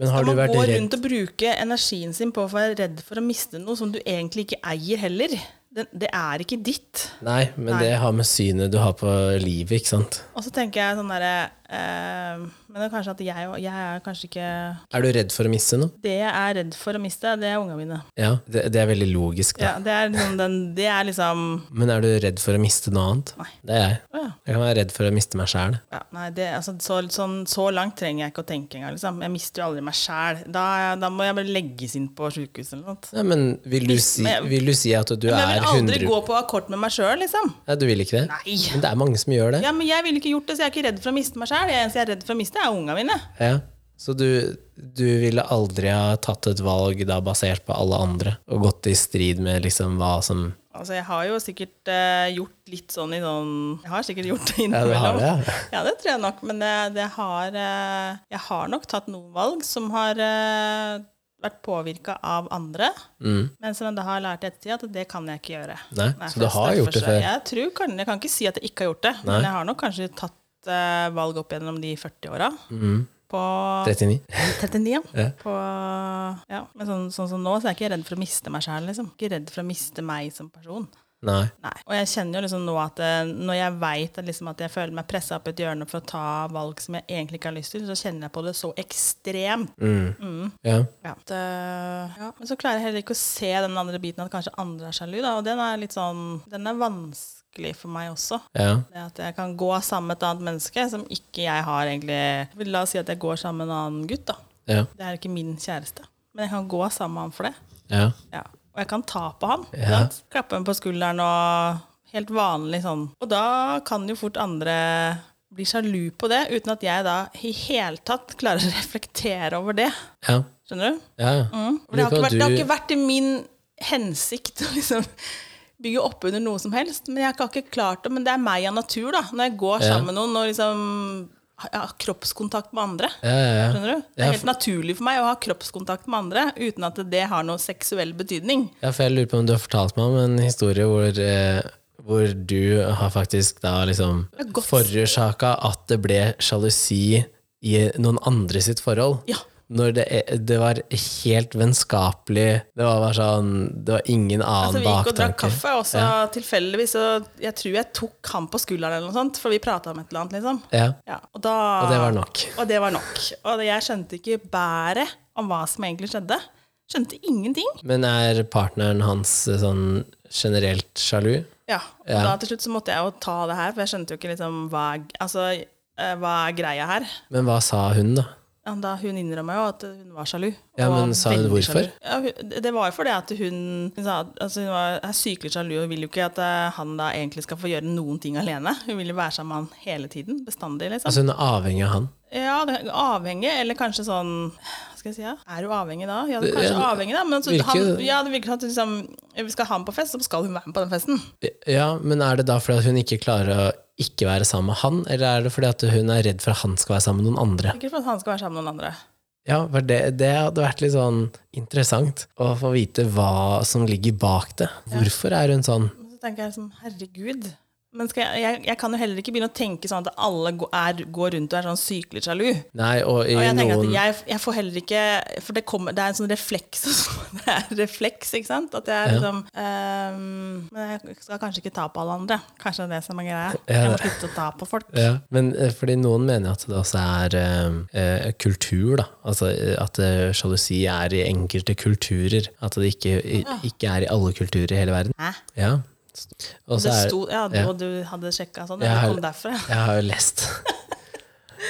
A: Men har
B: Skal
A: du
B: man
A: vært
B: gå
A: redd
B: rundt og bruke energien sin på å være redd for å miste noe som du egentlig ikke eier heller? Det, det er ikke ditt.
A: Nei, men
B: Nei.
A: det har med synet du har på livet, ikke sant.
B: Og så tenker jeg sånn derre eh, Men det er kanskje at jeg, jeg er kanskje ikke
A: Er du redd for å miste noe?
B: Det jeg er redd for å miste, det er ungene mine.
A: Ja, det, det er veldig logisk, da.
B: Ja, det, er liksom den, det er liksom
A: Men er du redd for å miste noe annet?
B: Nei.
A: Det er jeg.
B: Å ja.
A: Jeg kan være redd for å miste meg sjæl.
B: ja, Nei, det, altså, så, sånn, så langt trenger jeg ikke å tenke engang. Liksom. Jeg mister jo aldri meg sjæl. Da, da må jeg bare legges inn på sjukehuset eller noe. sånt.
A: Nei, men vil du, si,
B: Men jeg-
A: vil du si at du
B: Men jeg
A: er
B: vil aldri
A: 100
B: gå på akkord med meg sjøl, liksom.
A: Nei, du vil ikke det?
B: Nei.
A: Men det er mange som gjør det.
B: Ja, men jeg ville ikke gjort det, så jeg er ikke redd for å miste meg sjæl. Det eneste jeg er redd for å miste, er ungene mine.
A: Ja. Så du, du ville aldri ha tatt et valg da basert på alle andre, og gått i strid med liksom hva som
B: Altså, jeg har jo sikkert eh, gjort litt sånn i sånn Jeg har sikkert gjort det
A: Ja, du har
B: innimellom.
A: det, ja.
B: Ja, det tror jeg nok. Men det, det har eh, Jeg har nok tatt noen valg som har eh, vært påvirka av andre. Men som jeg da har lært i ettertid at det kan jeg ikke gjøre.
A: Mm. Nei, så
B: for
A: du har
B: derfor
A: gjort det
B: så-
A: før?
B: Jeg, tror, kan, jeg kan ikke si at jeg ikke har gjort det. Men jeg har nok kanskje tatt eh, valg opp gjennom de 40 åra. På
A: 39?
B: 39,
A: Mm. Ja.
B: ja. På, ja. Men sånn, sånn som nå, så er jeg ikke redd for å miste meg sjæl. Liksom. Ikke redd for å miste meg som person.
A: Nei.
B: Nei. Og jeg kjenner jo liksom nå at eh, når jeg veit at, liksom, at jeg føler meg pressa opp i et hjørne for å ta valg som jeg egentlig ikke har lyst til, så kjenner jeg på det så ekstremt.
A: Ja.
B: Ja. At, eh, ja. Men så klarer jeg heller ikke å se den andre biten at kanskje andre er sjalu, da. Og den er litt sånn Den er vanskelig for meg også.
A: ja.
B: Det at jeg kan gå sammen med et annet menneske som ikke jeg har egentlig La oss si at jeg går sammen med en annen gutt, da.
A: Ja.
B: Det er ikke min kjæreste. Men jeg kan gå sammen med han for det.
A: Ja.
B: Ja. Og jeg kan ta på han.
A: Ja.
B: sant? Klappe ham på skulderen og helt vanlig sånn. Og da kan jo fort andre bli sjalu på det, uten at jeg da i hele tatt klarer å reflektere over det.
A: Ja.
B: Skjønner du?
A: ja.
B: For det Mm.
A: Luka,
B: har, ikke vært, det har
A: du-
B: ikke vært i min hensikt å liksom bygge opp under noe som helst. Men jeg har ikke klart det. Men det er meg av natur, da. Når jeg går
A: Ja.
B: sammen med noen og liksom har har kroppskontakt med andre.
A: Ja, ja, ja.
B: Skjønner du? Det
A: Ja, for-
B: er helt naturlig for meg å ha kroppskontakt med andre uten at det har noe seksuell betydning.
A: Ja, for jeg lurer på om du har fortalt meg om en historie hvor, eh, hvor du har faktisk da liksom
B: Det er godt.
A: forårsaka at det ble sjalusi i noen andre sitt forhold.
B: Ja.
A: når det, er- det var helt vennskapelig Det var bare sånn Det var ingen annen
B: Altså, vi gikk og drakk
A: baktanke.
B: kaffe, og så tilfeldigvis så Jeg tror jeg tok han på skulderen, eller noe sånt, for vi prata om et eller annet, liksom.
A: Ja,
B: Ja, og, da,
A: og det var nok.
B: Og det var nok. Og det- jeg skjønte ikke bæret om hva som egentlig skjedde. Skjønte ingenting.
A: Men er partneren hans eh, sånn generelt sjalu?
B: Ja, og
A: Ja.
B: da til slutt så måtte jeg jo ta det her, for jeg skjønte jo ikke liksom hva er, altså, eh, hva er greia her.
A: Men hva sa hun, da?
B: Ja, Da hun innrømma jo at hun var sjalu.
A: Ja,
B: og
A: men sa hun
B: veldig
A: hvorfor?
B: sjalu. Ja, hun- det- det var jo fordi at hun, hun sa at altså, hun var, er sykelig sjalu og vil jo ikke at eh, han da egentlig skal få gjøre noen ting alene. Hun vil jo være sammen med han hele tiden. Bestandig, liksom.
A: Altså, hun er avhengig av han.
B: ja, det, avhenge, eller kanskje sånn Hva skal jeg si? Ja? Er du avhengig da? Ja,
A: Det-
B: kanskje
A: ja,
B: avhengig, da. Men altså,
A: virker-
B: han, ja, det virker som at liksom, skal han på fest, så skal hun være med på den festen.
A: Ja, men er det da fordi at hun ikke klarer å ikke være sammen med han, eller er det fordi at hun er redd for at han skal være sammen med noen andre?
B: Ikke for at han skal være sammen med noen andre.
A: Ja, for det, det hadde vært litt sånn interessant å få vite hva som ligger bak det. Hvorfor er hun sånn?
B: Men så tenker jeg sånn, herregud. Men skal jeg, jeg, jeg kan jo heller ikke begynne å tenke sånn at alle gå- er, går rundt og er sånn sykelig sjalu.
A: Nei, og i
B: Og jeg tenker
A: noen
B: at jeg, jeg får heller ikke For det, kommer, det er en sånn refleks. Det er en refleks, ikke sant? At jeg er
A: Ja.
B: liksom ehm, Men jeg skal kanskje ikke ta på alle andre. Kanskje det er det som er greia.
A: Ja.
B: Jeg må slutte å ta på folk.
A: Ja, men eh, fordi noen mener at det også er eh, eh, kultur, da. Altså eh, at eh, sjalusi er i enkelte kulturer. At det ikke, i, ikke er i alle kulturer i hele verden.
B: Hæ?
A: Ja. Og så
B: Det
A: er-
B: sto, ja,
A: ja.
B: Og du hadde sjekka sånn?
A: Jeg
B: Ja,
A: har-
B: det kom derfra?
A: Jeg har jo lest.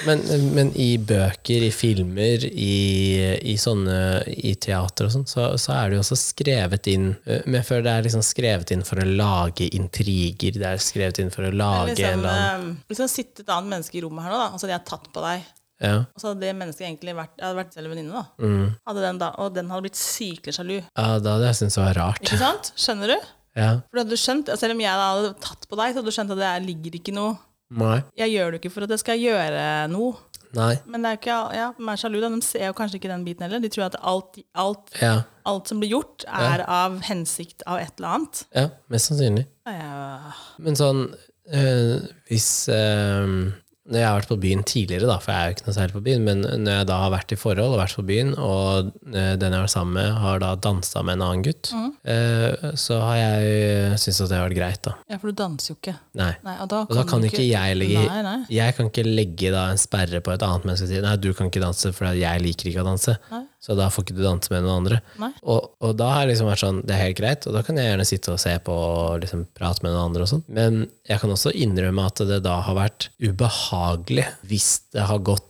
A: Men, men i bøker, i filmer, i, i, sånne, i teater og sånn, så, så er det jo også skrevet inn eh, Men jeg føler det er liksom skrevet inn for å lage intriger, det er skrevet inn for å lage en
B: Liksom,
A: eller annen
B: ehm, liksom sitte et annet menneske i rommet her nå, da. Altså de har tatt på deg.
A: ja.
B: Og så hadde det mennesket egentlig vært, jeg hadde vært selv venninne, da.
A: Mm.
B: Hadde den da. Og den hadde blitt sykelig sjalu.
A: ja, da hadde jeg syntes det var rart.
B: Ikke sant? Skjønner du?
A: Ja.
B: For da hadde du skjønt, altså, Selv om jeg da hadde tatt på deg, så hadde du skjønt at det ligger ikke noe
A: Nei.
B: Jeg gjør det jo ikke for at jeg skal gjøre noe.
A: Nei.
B: Men det er jo ikke, ja, de er sjalu, da. De ser jo kanskje ikke den biten heller. De tror at alt, alt,
A: Ja.
B: alt som blir gjort, er av hensikt av et eller annet.
A: ja. Mest sannsynlig.
B: Og jeg-
A: Men sånn øh, Hvis øh, Når jeg har vært på byen tidligere, da, for jeg er jo ikke noe særlig på byen, men når jeg da har vært i forhold og vært på byen, og øh, den jeg har vært sammen med, har da dansa med en annen gutt, øh, så har jeg øh, syntes at det har vært greit, da.
B: Ja, for du danser jo ikke.
A: Nei.
B: Nei, og da
A: Og da kan
B: du
A: ikke jeg legge
B: Nei, nei.
A: Jeg kan ikke legge da en sperre på et annet menneske og si nei, du kan ikke danse, for jeg liker ikke å danse.
B: Nei.
A: Så da får ikke du danse med noen andre.
B: Nei.
A: Og, og da har jeg liksom vært sånn, det er helt greit, og da kan jeg gjerne sitte og se på og liksom prate med noen andre og sånn. Men jeg kan også innrømme at det da har vært ubehagelig hvis det har gått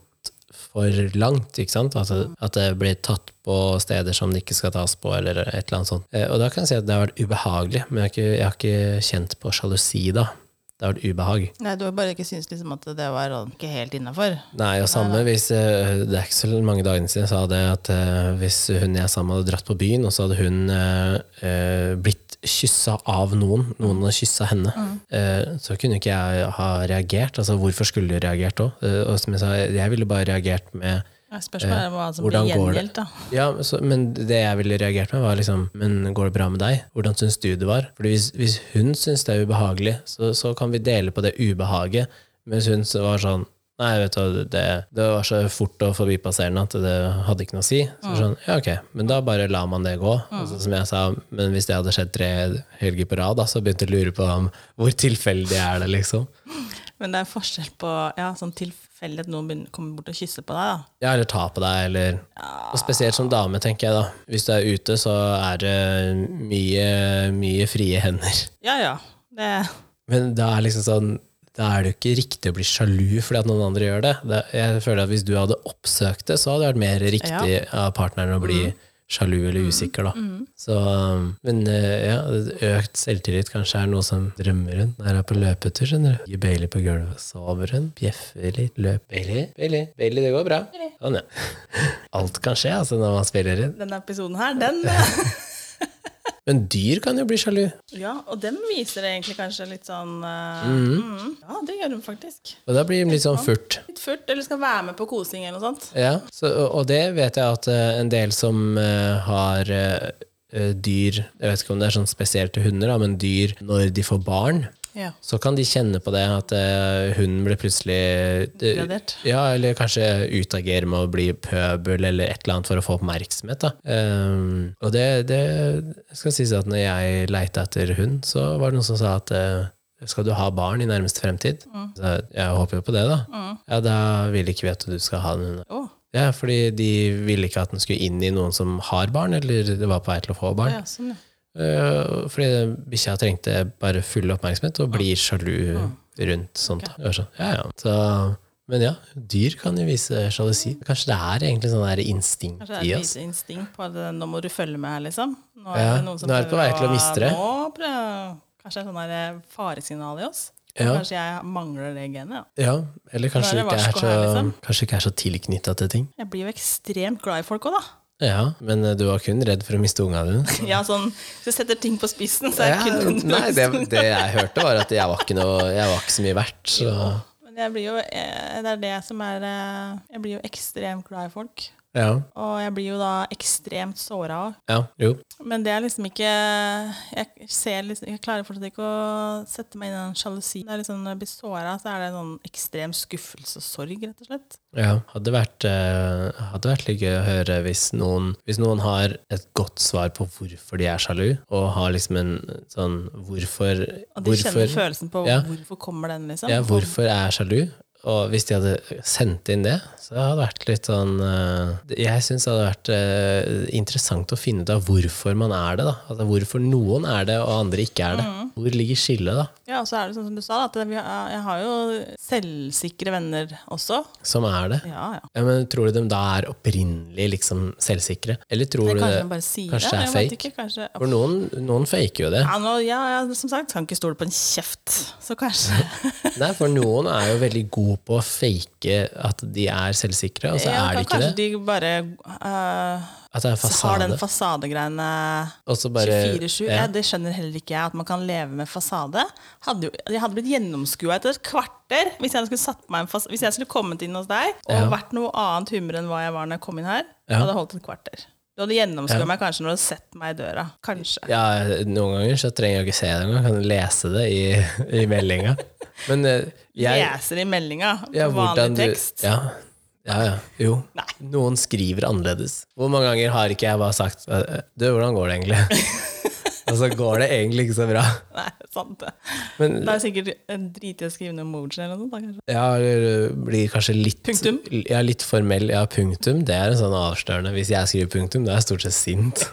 A: for langt, ikke sant? At det, at det blir tatt på steder som det ikke skal tas på, eller et eller annet sånt. Eh, Og da kan jeg si at det har vært ubehagelig, men jeg har ikke, jeg har ikke kjent på sjalusi da. Det har vært ubehag.
B: Nei, du har bare ikke syntes liksom at det var sånn ikke helt innafor.
A: Nei, og samme hvis eh, Det er ikke så mange dagene siden jeg sa det at eh, hvis hun jeg er sammen med hadde dratt på byen, og så hadde hun eh, eh, blitt kyssa av noen, noen hadde kyssa henne, eh, så kunne ikke jeg ha reagert. Altså, hvorfor skulle du reagert da? Eh, og som jeg sa, jeg ville bare reagert med
B: Spørsmålet er hva som blir
A: hvordan går det?
B: gjengjeldt, da.
A: ja, så, men det jeg ville reagert med, var liksom Men går det bra med deg? Hvordan syns du det var? Fordi hvis, hvis hun syns det er ubehagelig, så, så kan vi dele på det ubehaget. Mens hun så var sånn Nei, vet du, hva, det, det var så fort og forbipasserende at det hadde ikke noe å si. Så sånn, ja, ok, Men da bare lar man det gå. Altså, som jeg sa, Men hvis det hadde skjedd tre helger på rad, da, så begynte jeg å lure på om, hvor tilfeldig er det, liksom.
B: Men det er forskjell på ja, sånn tilfeldig at noen begynner, kommer bort og kysser på deg, da.
A: Ja, eller ta på deg, eller Og spesielt som dame, tenker jeg da. Hvis du er ute, så er det mye, mye frie hender.
B: Ja ja. Det,
A: Men da er liksom sånn da er det jo ikke riktig å bli sjalu fordi at noen andre gjør det. det jeg føler at Hvis du hadde oppsøkt det, så hadde det vært mer riktig av partneren å bli sjalu eller usikker. da. Så, um, men eh, ja, økt selvtillit kanskje er noe som drømmer hun. Når hun er på løpetur, skjønner du. Gir Bailey på gulvet, sover hun, bjeffer litt, løp. Bailey, Bailey, Bailey, det går bra. Sånn, ja. Alt kan skje altså, når man spiller inn.
B: denne episoden her, den
A: Men dyr kan jo bli sjalu.
B: Ja, og den viser egentlig kanskje litt sånn eh, mhm. Ja, det gjør hun faktisk.
A: Og da blir de litt sånn furt.
B: Litt furt, eller skal være med på kosing eller noe sånt.
A: Ja, så, og- og det vet jeg at eh, en del som eh, har eh, eh, dyr Jeg vet ikke om det er sånn spesielt til hunder, da, men dyr når de får barn,
B: Ja.
A: så kan de kjenne på det at eh, hun blir plutselig eh,
B: Gradert.
A: Ja, eller kanskje utagere med å bli pøbel eller et eller annet for å få oppmerksomhet. Da. Ehm, og det, det skal sies at når jeg leita etter hund, så var det noen som sa at eh, skal du ha barn i nærmeste fremtid? Så jeg, jeg håper jo på det, da. Ja, da vil ikke vi at du skal ha en hund.
B: Å,
A: Ja, fordi de ville ikke at den skulle inn i noen som har barn, eller det var på vei til å få barn.
B: ja, sånn, ja.
A: Eh, Fordi bikkja trengte bare full oppmerksomhet og blir sjalu rundt sånt. da. Gjør sånn. Ja, ja. Så, men ja, dyr kan jo vise sjalusi. Kanskje det er egentlig sånn der instinkt
B: Kanskje det
A: i
B: er et
A: oss.
B: lite instinkt på at eh, nå må du følge med her, liksom. Nå
A: Ja, nå er det på
B: prøver
A: vei til å miste det.
B: Nå prøver, kanskje det er sånn der eh, faresignal i oss.
A: Ja.
B: Kanskje jeg mangler det genet. Ja.
A: Ja, eller kanskje
B: Nå er
A: ikke er
B: det Sånn varsko
A: så,
B: her, liksom.
A: kanskje ikke er så tilknytta til ting.
B: Jeg blir jo ekstremt glad i folk òg, da.
A: Ja, Men eh, du var kun redd for å miste unga dine?
B: Ja, sånn, Hvis jeg setter ting på spissen, så er
A: Ja,
B: jeg kun den
A: nei, det,
B: beste.
A: det jeg hørte, var at jeg var ikke, noe, jeg var ikke så mye verdt. Så.
B: Men jeg blir jo, eh, det er det som er eh, Jeg blir jo ekstremt glad i folk.
A: Ja,
B: Og jeg blir jo da ekstremt såra òg.
A: ja, jo.
B: Men det er liksom ikke Jeg ser liksom Jeg klarer fortsatt ikke å sette meg inn i den sjalusien. Det er liksom, når jeg blir såra, så er det en sånn ekstrem skuffelse og sorg, rett og slett.
A: Ja, hadde vært, eh, hadde vært litt gøy å høre hvis noen, hvis noen har et godt svar på hvorfor de er sjalu, og har liksom en sånn hvorfor,
B: Og de kjenner
A: hvorfor,
B: følelsen på
A: Ja.
B: hvorfor kommer den, liksom.
A: ja, hvorfor er jeg sjalu? Og hvis de hadde sendt inn det, så hadde det vært litt sånn eh, Jeg syns det hadde vært eh, interessant å finne ut av hvorfor man er det. da. Altså Hvorfor noen er det, og andre ikke er det.
B: Mm.
A: Hvor ligger skillet, da?
B: Ja, og så er det sånn som du sa, da, at vi har, jeg har jo selvsikre venner også.
A: Som er det.
B: Ja, ja.
A: Ja, men Tror du de da er opprinnelig liksom selvsikre? Eller tror
B: Men
A: du
B: kanskje
A: det
B: de bare sier
A: kanskje det
B: det?
A: er
B: jeg
A: fake?
B: vet ikke, kanskje...
A: For noen, noen faker jo det.
B: Ja, nå, ja, ja, som sagt, kan ikke stole på en kjeft, så kanskje
A: Nei, for noen er jo veldig gode på å fake at de er selvsikre, og så
B: Ja,
A: er de ikke
B: Kanskje
A: det.
B: de bare eh,
A: At det er
B: har den
A: fasade.
B: fasadegreiene
A: Og så bare
B: 24-7.
A: ja.
B: Ja, det skjønner heller ikke jeg, at man kan leve med fasade. Hadde jo, jeg hadde blitt gjennomskua etter et kvarter hvis jeg, skulle satt på meg en fas hvis jeg skulle kommet inn hos deg og
A: Ja.
B: vært noe annet humør enn hva jeg var når jeg kom inn her.
A: Ja.
B: Hadde holdt et kvarter. Du hadde gjennomskua
A: Ja.
B: meg kanskje når du hadde sett meg i døra. Kanskje.
A: Ja, noen ganger så trenger jeg ikke se det engang, kan jeg lese det i, i meldinga. Men eh, jeg
B: Leser i meldinga på
A: ja, hvordan
B: vanlig
A: du
B: tekst.
A: Ja, ja. ja jo.
B: Nei.
A: Noen skriver annerledes. Hvor mange ganger har ikke jeg bare sagt eh, Du, hvordan går det egentlig? Og så går det egentlig ikke så bra.
B: Nei, sant det.
A: Men
B: Da er det sikkert en drit i å skrive noe emoji eller noe sånt. da, kanskje.
A: Ja, eller eh, blir kanskje litt
B: Punktum?
A: Ja, litt formell. Ja, punktum. Det er en sånn avslørende. Hvis jeg skriver punktum, da er jeg stort sett sint.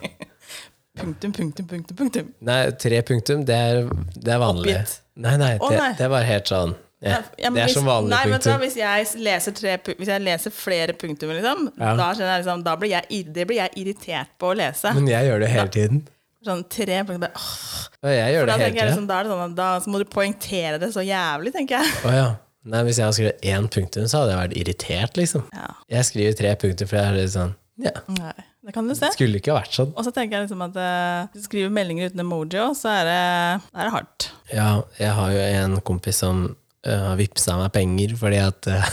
B: Punktum, punktum, punktum, punktum.
A: Nei, tre punktum, det er, det er vanlig.
B: Oppgitt.
A: Nei, nei, det,
B: Å, nei.
A: det er bare helt sånn ja,
B: Ja, men
A: Det er
B: hvis-
A: som vanlig
B: nei, vet du hva,
A: punktum.
B: Hvis jeg leser, tre, pu- hvis jeg leser flere punktumer, liksom,
A: Ja.
B: da, skjønner jeg liksom da blir jeg, ir- det blir jeg irritert på å lese.
A: Men jeg gjør det hele tiden.
B: Sånn tre punktum bare, åh.
A: Ja, jeg gjør
B: da,
A: det hele
B: tenker jeg
A: tiden.
B: liksom, da er det sånn at da så må du poengtere det så jævlig, tenker jeg.
A: Å, ja. Nei, hvis jeg hadde skrevet én punktum, så hadde jeg vært irritert, liksom.
B: Ja.
A: Jeg skriver tre punktum, for jeg er litt sånn Ja,
B: Nei, det kan du se.
A: skulle ikke ha vært sånn.
B: Og så tenker jeg liksom at eh, hvis du skriver meldinger uten emoji også, så er det, da er det hardt.
A: Ja, jeg har jo en kompis som eh, har vippsa meg penger fordi at eh,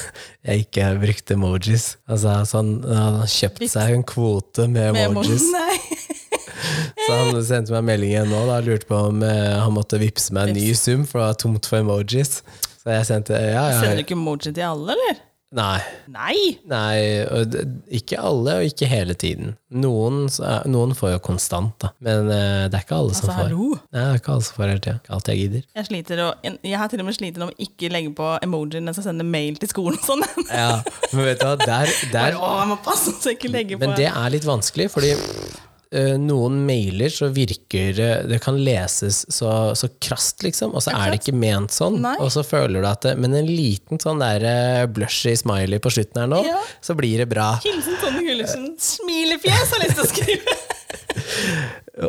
A: jeg ikke brukte emojis. Altså, så han, han har kjøpt
B: Vips.
A: seg en kvote med
B: Med
A: emojis.
B: emoji. Nei.
A: Så han sendte meg melding igjen nå da, og lurte på om eh, han måtte vippse meg en ny sum, for det var tomt for emojis. Så jeg sendte ja,
B: Sender du
A: ja.
B: ikke emoji til alle, eller?
A: Nei.
B: Nei!
A: Nei, og det- ikke alle, og ikke hele tiden. Noen, så er- noen får jo konstant, da. Men eh, det er ikke alle som
B: Altså,
A: får.
B: hallo.
A: Nei, det er ikke alle som får hele tida. Ikke alt jeg gidder.
B: Jeg, sliter å, jeg har til og med slitet om å ikke legge på emoji når jeg skal sende mail til skolen og sånn.
A: Ja, men vet du hva, der, der
B: Å, jeg må passe så jeg ikke legger på
A: Men det er litt vanskelig, fordi ø, noen mailer så virker det Det kan leses så, så krast, liksom, og så er det ikke ment sånn.
B: Nei.
A: Og så føler du at det Men en liten sånn der ø, blushy smiley på slutten her nå,
B: Ja.
A: så blir det bra.
B: Hilsen Tonje Gullivsen. Smilefjes har jeg lyst til å skrive!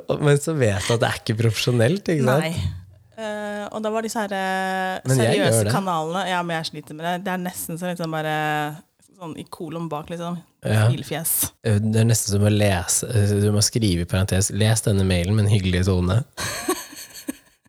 A: Og- Men så vet du at det er ikke profesjonelt, ikke sant?
B: Nei. Eh, og da var disse her eh,
A: Men jeg gjør
B: seriøse
A: det.
B: kanalene Ja, men jeg sliter med det. Det er nesten så liksom bare Sånn i kolon bak, liksom.
A: Ja.
B: Smilefjes.
A: Ø, Eh, Det er nesten som å lese ø, Du må skrive i parentes 'les denne mailen med en hyggelig tone'.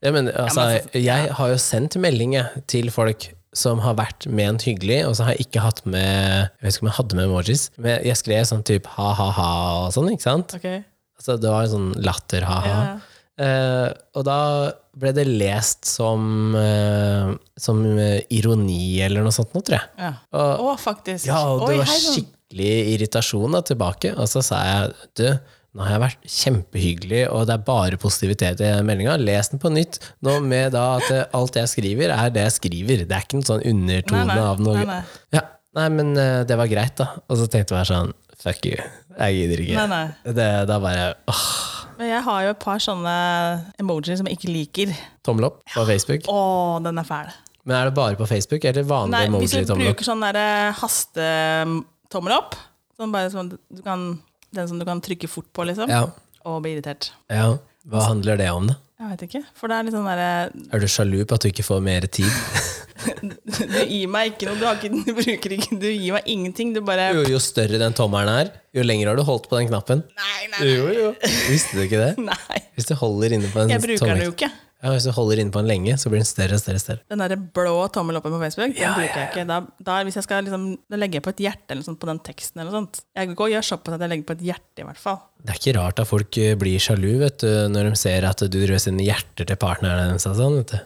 A: Ja, men, altså, jeg har jo sendt meldinger til folk som har vært ment hyggelig, og så har jeg ikke hatt med Jeg vet ikke om jeg hadde med emojis, men jeg skrev sånn type ha-ha-ha og sånn, ikke sant?
B: Ok.
A: Altså, det var en sånn latter-ha-ha.
B: Ja, ja.
A: Eh, og da ble det lest som, eh, som eh, ironi eller noe sånt, nå, tror jeg.
B: Ja.
A: Og-
B: Å, faktisk.
A: Ja, og det
B: Oi,
A: var
B: hei sånn. sann.
A: skikkelig irritasjon da, tilbake. Og så sa jeg du, nå har jeg vært kjempehyggelig, og det er bare positivitet i meldinga. Les den på nytt. Nå med da at eh, alt jeg skriver, er det jeg skriver. Det er ikke noen sånn undertone
B: Nei, nei,
A: av noe.
B: nei,
A: Nei,
B: nei.
A: Ja, nei, men eh, det var greit, da. Og så tenkte jeg bare sånn Fuck you. Jeg gidder ikke.
B: Nei, nei.
A: Det, da bare åh,
B: Men jeg har jo et par sånne emojier som jeg ikke liker.
A: tommel opp på Facebook.
B: Å, den er fæl.
A: Men er det bare på Facebook, eller vanlig
B: Nei, hvis
A: emoji
B: du
A: tommel opp?
B: bruker sånn derre hastetommel opp, sånn bare sånn du kan, den som du kan trykke fort på, liksom,
A: Ja,
B: og bli irritert.
A: ja. Hva handler det om, da?
B: Jeg vet ikke. For det er litt sånn derre
A: Er du sjalu på at du ikke får mer tid?
B: Du gir meg ikke noe, du, har ikke, du bruker ikke Du gir meg ingenting, du bare
A: Jo, jo større den tommelen er, jo lenger har du holdt på den knappen.
B: Nei, nei,
A: Jo, jo. Visste du ikke det?
B: nei.
A: Hvis du holder inne på en
B: Jeg bruker den
A: tommel
B: jo ikke.
A: ja, Hvis du holder inne på den lenge, så blir den større og større. og større.
B: Den derre blå tommel oppen på Facebook, den
A: Ja,
B: bruker
A: ja,
B: jeg ikke. Da, da, hvis jeg skal liksom, da legger jeg på et hjerte eller sånt på den teksten eller noe sånt. Jeg går og gjør såpass at jeg legger på et hjerte, i hvert fall.
A: Det er ikke rart at folk eh, blir sjalu vet du, når de ser at du rører sine hjerter til partneren deres. og Sånn, vet du.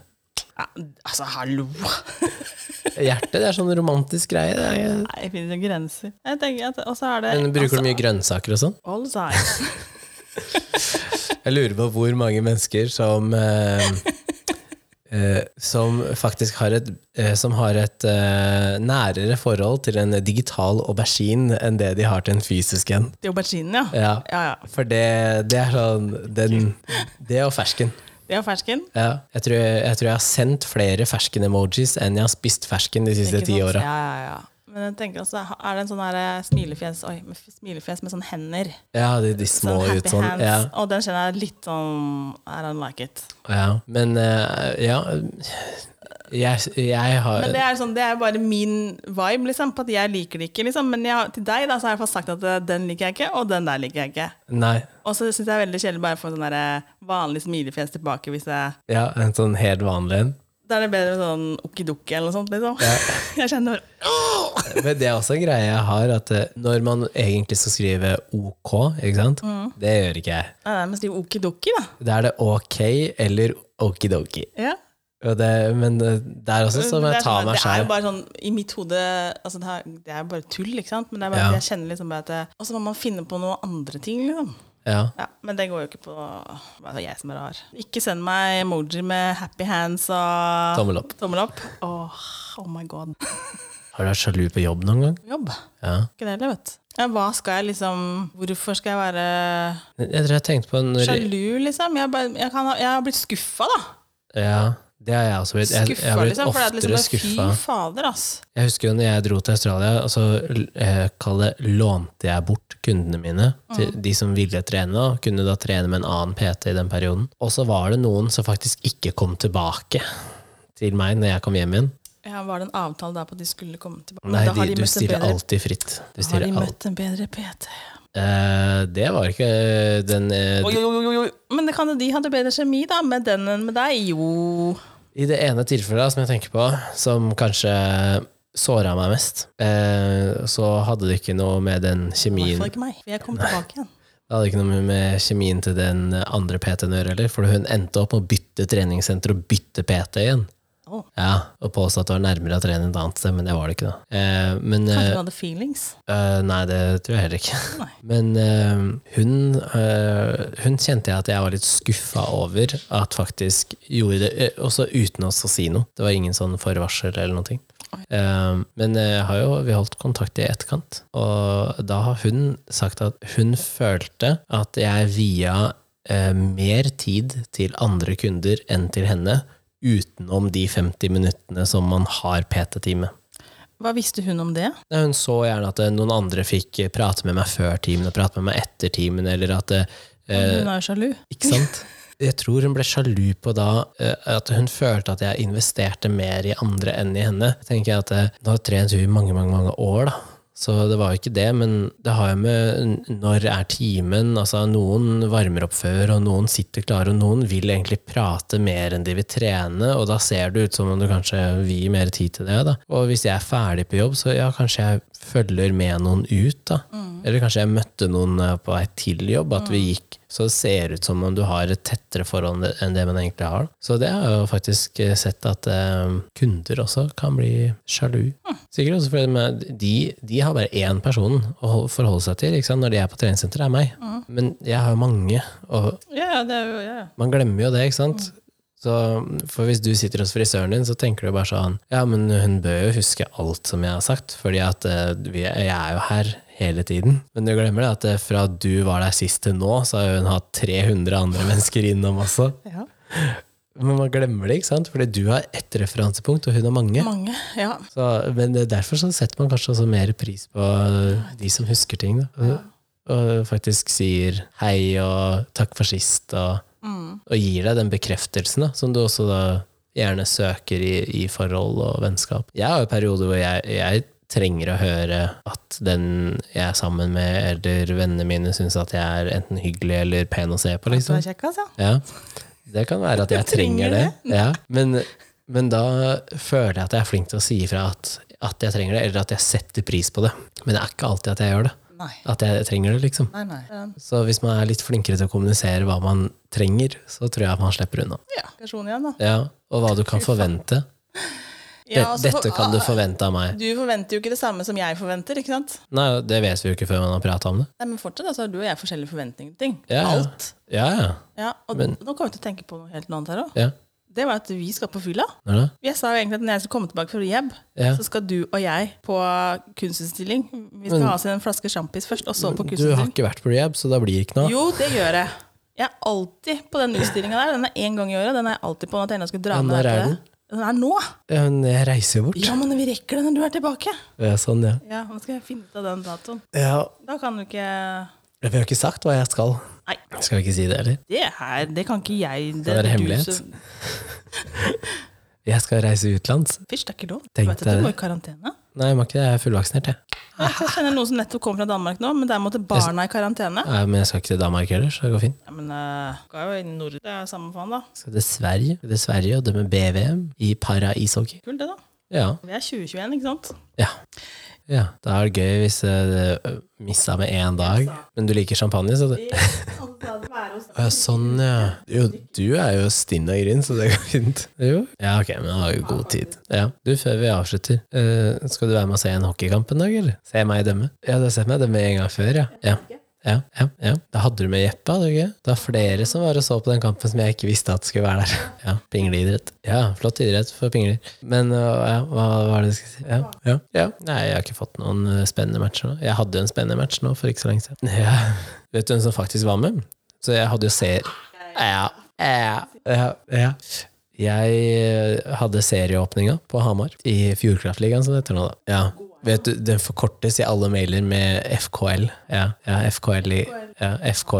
B: Ja, altså, hallo!
A: Hjerte det er sånn romantisk greie. Det er,
B: Nei, det finnes jo grenser. Jeg tenker at, Og så er det
A: men bruker
B: altså,
A: du mye grønnsaker og sånn?
B: all size.
A: Jeg lurer på hvor mange mennesker som eh, eh, Som faktisk har et, eh, som har et eh, nærere forhold til en digital aubergine enn det de har til en fysisk en.
B: Det er auberginen, ja.
A: Ja.
B: Ja, ja.
A: For det, det er sånn den, Det og fersken.
B: Det er fersken.
A: Ja. Jeg, tror, jeg tror jeg har sendt flere fersken-emojis enn jeg har spist fersken de siste
B: Ikke
A: ti
B: sant?
A: åra.
B: Ja, ja, ja. Men jeg tenker også, er det en sånn her eh, smilefjes Oi, med f- smilefjes med sånn hender.
A: Ja, de, de små
B: Sånn
A: ut
B: happy
A: sånn.
B: hands.
A: Ja,
B: Og den kjenner jeg litt sånn I don't like it.
A: ja. Men eh, ja Jeg, jeg har
B: Men det er, sånn, det er bare min vibe, liksom, på at jeg liker det ikke. Liksom. Men jeg, har- til deg da, så har jeg fått sagt at eh, den liker jeg ikke, og den der liker jeg ikke.
A: Nei.
B: Og så syns jeg det er veldig kjedelig bare å få sånn der, eh, vanlig smilefjes tilbake hvis jeg
A: Ja, en sånn helt vanlig en.
B: Da er det bedre sånn okidoki eller noe sånt, liksom. Jeg kjenner bare
A: Men det er også en greie jeg har, at eh, når man egentlig skal skrive OK, ikke sant?
B: Mm.
A: Det gjør ikke jeg.
B: Nei, nei, men skriv okidoki, da.
A: Da er det OK eller okidoki.
B: Ja.
A: Og det, men det det er også som
B: Men det
A: jeg
B: er
A: tar
B: sånn-
A: meg
B: Det er
A: sjæl.
B: jo bare sånn, I mitt hode altså det, er, det er bare tull, ikke sant? Men det er bare
A: Ja.
B: at jeg kjenner liksom bare at det- Og så må man finne på noen andre ting, liksom.
A: Ja.
B: Ja, men det går jo ikke på altså jeg som er rar. Ikke send meg emoji med happy hands og
A: Tommel opp.
B: Tommel opp. Åh, oh my god.
A: Har du vært sjalu på jobb noen gang?
B: Jobb.
A: Ja.
B: Ikke det heller, vet du. Ja, hva skal jeg liksom Hvorfor skal jeg være
A: Jeg tror jeg tenkte på når,
B: sjalu, liksom? Jeg, bare, jeg, kan, ha- jeg har blitt skuffa, da.
A: Ja, det har jeg også blitt. Jeg, jeg
B: Skuffa,
A: har blitt
B: liksom. For det er
A: oftere
B: liksom bare,
A: skuffa.
B: Fy fader, ass.
A: Jeg husker jo når jeg dro til Australia, og så eh, kall det, lånte jeg bort kundene mine.
B: Mm.
A: Til de som ville trene, da, kunne da trene med en annen PT i den perioden. Og så var det noen som faktisk ikke kom tilbake til meg når jeg kom hjem igjen.
B: Ja, var det en avtale der på at de skulle komme tilbake? Men
A: Nei,
B: da har
A: de,
B: de
A: du
B: møtt en
A: stiller
B: bedre-
A: alltid fritt. Du
B: Har
A: stiller
B: de
A: alt.
B: møtt en bedre PT?
A: Eh, det var ikke eh, den eh,
B: Men det kan jo de hadde bedre kjemi da, med den enn med deg. Jo.
A: I det ene tilfellet som jeg tenker på, som kanskje såra meg mest, eh, så hadde det ikke noe med den
B: I hvert
A: kjemien
B: fall ikke meg. For jeg kom tilbake igjen.
A: Det hadde ikke noe med kjemien til den andre PT-en å gjøre heller, for hun endte opp med å bytte treningssenter og bytte PT igjen.
B: Å.
A: Ja, Og påstå at det var nærmere å trene et annet sted, men det var det ikke. da. Eh, men eh,
B: Kanskje du hadde feelings?
A: øh, Nei, det tror jeg heller ikke.
B: Nei.
A: Men eh, hun, eh, hun kjente jeg at jeg var litt skuffa over at faktisk gjorde det, eh, også uten oss å si noe. Det var ingen sånn forvarsel eller noe.
B: Oi.
A: Eh, men jeg har jo, vi har holdt kontakt i etterkant, og da har hun sagt at hun følte at jeg via eh, mer tid til andre kunder enn til henne, utenom de 50 minuttene som man har PT-time.
B: Hva visste hun om det?
A: Nei, Hun så gjerne at eh, noen andre fikk eh, prate med meg før timen og prate med meg etter timen, eller at eh,
B: Hun er jo sjalu.
A: Ikke sant? Jeg tror hun ble sjalu på da eh, at hun følte at jeg investerte mer i andre enn i henne. Tenker jeg at eh, Nå har trent hun i mange, mange, mange år, da. Så det var jo ikke det, men det har jo med n- når er timen altså Noen varmer opp før, og noen sitter klare, og noen vil egentlig prate mer enn de vil trene, og da ser det ut som om du kanskje vier mer tid til det. da. Og hvis jeg er ferdig på jobb, så ja, kanskje jeg følger med noen ut, da. Eller kanskje jeg møtte noen eh, på vei til jobb, at vi gikk. Så det ser ut som om du har et tettere forhold enn det man egentlig har. Så det har jeg jo faktisk eh, sett at eh, kunder også kan bli sjalu. Sikkert også fordi de- de, de har bare én person å hol- forholde seg til ikke sant? når de er på treningssenteret, er meg. Men jeg har jo mange, og
B: Ja, ja, det er jo ja, ja.
A: man glemmer jo det, ikke sant? Så, for hvis du sitter hos frisøren din, så tenker du bare sånn Ja, men hun bør jo huske alt som jeg har sagt, fordi at eh, vi, jeg er jo her hele tiden. Men du glemmer det at eh, fra du var der sist til nå, så har hun hatt 300 andre mennesker innom også.
B: Ja.
A: Men man glemmer det, ikke sant? Fordi du har ett referansepunkt, og hun har mange.
B: Mange. Ja.
A: Så, men det er derfor så setter man kanskje også mer pris på eh, de som husker ting. Da. Og faktisk sier hei og takk for sist, og, og gir deg den bekreftelsen da, som du også da gjerne søker i, i forhold og vennskap. Jeg har jo perioder hvor jeg, jeg trenger å høre at den jeg er sammen med, eller vennene mine, syns at jeg er enten hyggelig eller pen å se på.
B: Du
A: Liksom.
B: er kjekk, altså.
A: Ja, det kan være at jeg trenger det. Ja. Men, men da føler jeg at jeg er flink til å si ifra at, at jeg trenger det, eller at jeg setter pris på det. Men det er ikke alltid at jeg gjør det.
B: Nei.
A: At jeg trenger det, liksom.
B: Nei, nei. Um,
A: Så hvis man er litt flinkere til å kommunisere hva man trenger, så tror jeg man slipper unna.
B: Ja, personen igjen, da.
A: Ja, og hva du kan forvente. Det,
B: Ja, altså, for-
A: dette kan du forvente av meg.
B: Du forventer jo ikke det samme som jeg forventer, ikke sant?
A: Nei, det vet vi jo ikke før man har prata om det.
B: Nei, men fortsatt altså, har du og jeg forskjellige forventninger til ting.
A: Ja, ja.
B: Alt.
A: Ja, ja.
B: Ja, og
A: Men-
B: nå kommer jeg til å tenke på noe helt annet her òg.
A: ja.
B: Det var at vi skal på fylla.
A: Når da?
B: Jeg sa jo egentlig at når jeg skulle komme tilbake fra rehab,
A: Ja.
B: så skal du og jeg på kunstutstilling. Vi skal ha oss en flaske sjampis først, og så på
A: Du har
B: kunstutstilling.
A: ikke vært på rehab, så da blir det ikke noe.
B: Jo, det gjør jeg. Jeg er alltid på den utstillinga der. Den er én gang i året. Den er jeg alltid på. Nå tenkte jeg skulle dra
A: Ja,
B: med
A: når
B: deg
A: er
B: på
A: den?
B: det. Den er nå!
A: Ja, men Jeg reiser jo bort.
B: Ja, men vi rekker det når du er tilbake.
A: Ja, sånn, ja.
B: Ja, Nå skal jeg finne ut av den datoen.
A: ja.
B: Da kan du ikke
A: Vi har ikke sagt hva jeg skal.
B: Nei,
A: Skal vi ikke si det, eller?
B: det her det kan ikke jeg.
A: Skal det være
B: er du
A: hemmelighet?
B: som-
A: Jeg skal reise utenlands.
B: Fysj, det er ikke lov. Du
A: Tenk
B: vet
A: deg
B: at du må i
A: det.
B: karantene.
A: Nei, jeg må ikke det. Jeg er fullvaksinert, jeg.
B: Ja, for Jeg kjenner noen som nettopp kommer fra Danmark nå, men der måtte barna i karantene.
A: Nei, men jeg skal ikke til Danmark heller, så det går fint.
B: Ja, men uh, ga jo i Norden, det er jo samme faen, da.
A: Jeg skal til Sverige, til Sverige og dømme BVM i para-ishockey.
B: Kult, det, da.
A: Ja.
B: Vi er 2021, ikke sant?
A: ja. Ja, Da er det gøy hvis eh, det missa med én dag. Men du liker champagne, sa du? Ja, sånn, ja. Jo, du er jo stinn og grinn, så det går fint. Jo. Ja, ok, men jeg har jo god tid. Ja. Du, før vi avslutter, eh, skal du være med og se en hockeykamp en dag, eller? Se meg dømme? Ja, du har sett meg dømme en gang før, ja. ja. Ja, ja, ja. Da hadde du med Jeppe, hadde du ikke? Det var flere som var og så på den kampen som jeg ikke visste at skulle være der. Ja, pingleidrett. Ja, flott idrett for pingler. Men øh, ja, hva var det jeg skulle si? Ja, ja, ja. Nei, jeg har ikke fått noen øh, spennende matcher nå. Jeg hadde jo en spennende match nå for ikke så lenge siden. Ja. Vet du hvem som faktisk var med? Så jeg hadde jo ser... Ja, ja, ja, ja. Jeg øh, hadde serieåpninga på Hamar, i Fjordkraftligaen som det heter nå, da. Ja. Vet du, Den forkortes i alle mailer med FKL. Ja, ja FKL-ligaen. Ja, FK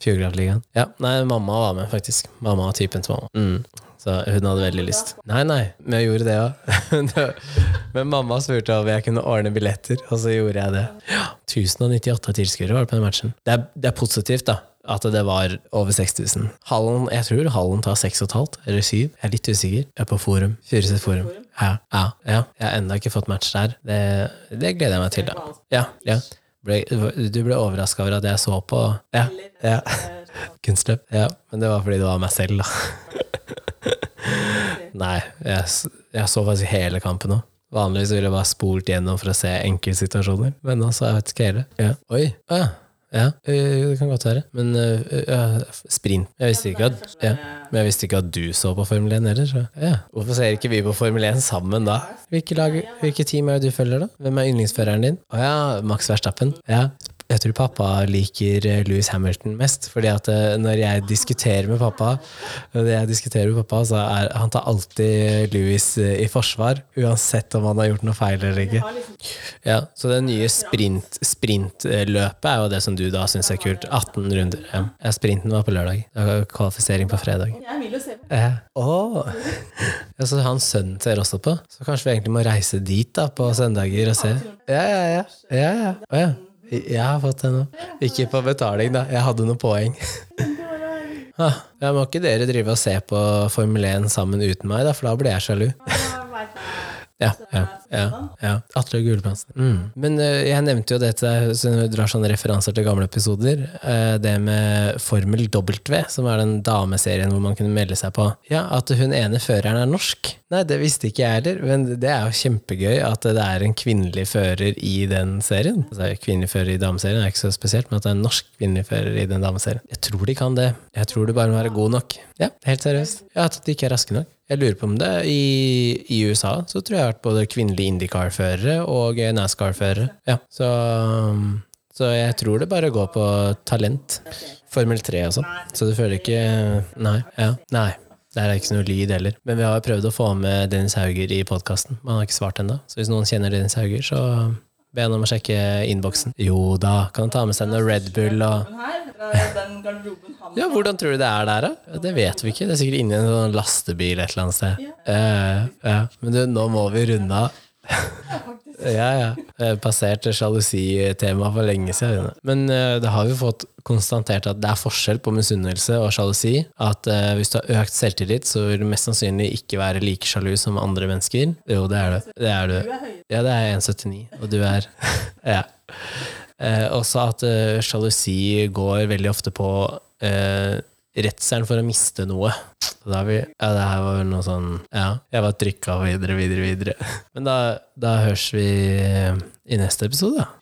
A: Fjordkraftligaen. Ja, nei, mamma var med, faktisk. Mamma og typen til mamma. Mm. Så hun hadde veldig lyst. Nei, nei, men jeg gjorde det òg. men mamma spurte om jeg kunne ordne billetter, og så gjorde jeg det. Ja, 1098 tilskuere var det på den matchen. Det er, det er positivt, da. At det var over 6000. Hallen, jeg tror hallen tar 6,5 eller 7. Jeg er litt usikker. Jeg er på Forum. Furuset Forum. Ja, ja, ja. Jeg har ennå ikke fått match der. Det, det gleder jeg meg til, da. Ja, ja. Ble, du ble overraska over at jeg så på Ja. ja. Kunstløp. Ja. Men det var fordi det var meg selv, da. Nei, jeg, s- jeg så faktisk hele kampen òg. Vanligvis ville jeg bare spolt gjennom for å se enkeltsituasjoner, men nå så jeg vet ikke hele. Ja. Oi. Å ja. Ja, øh, det kan godt være. Men øh, øh, sprint Jeg visste ikke at ja. Men jeg visste ikke at du så på Formel 1 heller. Så. Ja. Hvorfor ser ikke vi på Formel 1 sammen da? Hvilke, lag, hvilke team er det du følger, da? Hvem er yndlingsføreren din? Å ja, Max Verstappen. Ja. Jeg tror pappa liker eh, Lewis Hamilton mest. fordi at eh, når jeg diskuterer med pappa, når jeg diskuterer med pappa så er, han tar alltid Lewis eh, i forsvar. Uansett om han har gjort noe feil eller ikke. Ja, Så det nye sprint- sprintløpet er jo det som du da syns er kult. 18 runder. Ja. Ja, sprinten var på lørdag. Det var Kvalifisering på fredag.
B: Jeg vil jo se
A: Eh, åh. Ja, så hans sønn ser også på. Så kanskje vi egentlig må reise dit da på søndager og se. Ja, ja, ja. ja, ja. Å, ja. Jeg har fått det nå. Ikke på betaling, da. Jeg hadde noen poeng. Ah, ja, må ikke dere drive og se på Formel 1 sammen uten meg, da, for da blir jeg sjalu. Ja, ja, ja, ja. Atle Gulbrandsen. Mm. Men eh, jeg nevnte jo det til deg, så når du drar sånne referanser til gamle episoder. eh, det med Formel W, som er den dameserien hvor man kunne melde seg på. Ja, At hun ene føreren er norsk. Nei, det visste ikke jeg heller, men det er jo kjempegøy at det er en kvinnelig fører i den serien. Altså, kvinnelig fører i dameserien er ikke så spesielt, men at det er en norsk kvinnelig fører i den dameserien. Jeg tror de kan det. Jeg tror du bare må være god nok. Ja, helt seriøst. Ja, At de ikke er raske nok. Jeg lurer på om det I, i USA så tror jeg jeg har vært både kvinnelige Indycar-førere og NASCAR-førere. Ja, så, um, så jeg tror det bare går på talent. Formel 3 og sånn. Så du føler ikke Nei. ja, nei. Der er det ikke noe lyd heller. Men vi har prøvd å få med Dennis Hauger i podkasten. Men han har ikke svart ennå. Så hvis noen kjenner Dennis Hauger, så be han om å sjekke innboksen. Jo da, kan han ta med seg noe Red Bull og
B: Den her, fra den garderoben han
A: ja, Hvordan tror du det er der, da? Det vet vi ikke. Det er sikkert inni en sånn lastebil et eller annet sted. Eh, ja. Men du, nå må vi runde av. ja, ja. Eh, Passert sjalusitemaet for lenge siden. Men eh, da har vi fått konstatert at det er forskjell på misunnelse og sjalusi. At eh, hvis du har økt selvtillit, så vil du mest sannsynlig ikke være like sjalu som andre mennesker. Jo, det er du. Det er du. Ja, det er 1,79, og du er Ja. Eh, også at eh, sjalusi går veldig ofte på eh, redselen for å miste noe. Så Da er vi, ja, det her var vel noe sånn Ja, jeg var trykka videre, videre, videre. Men da, da høres vi i neste episode, da.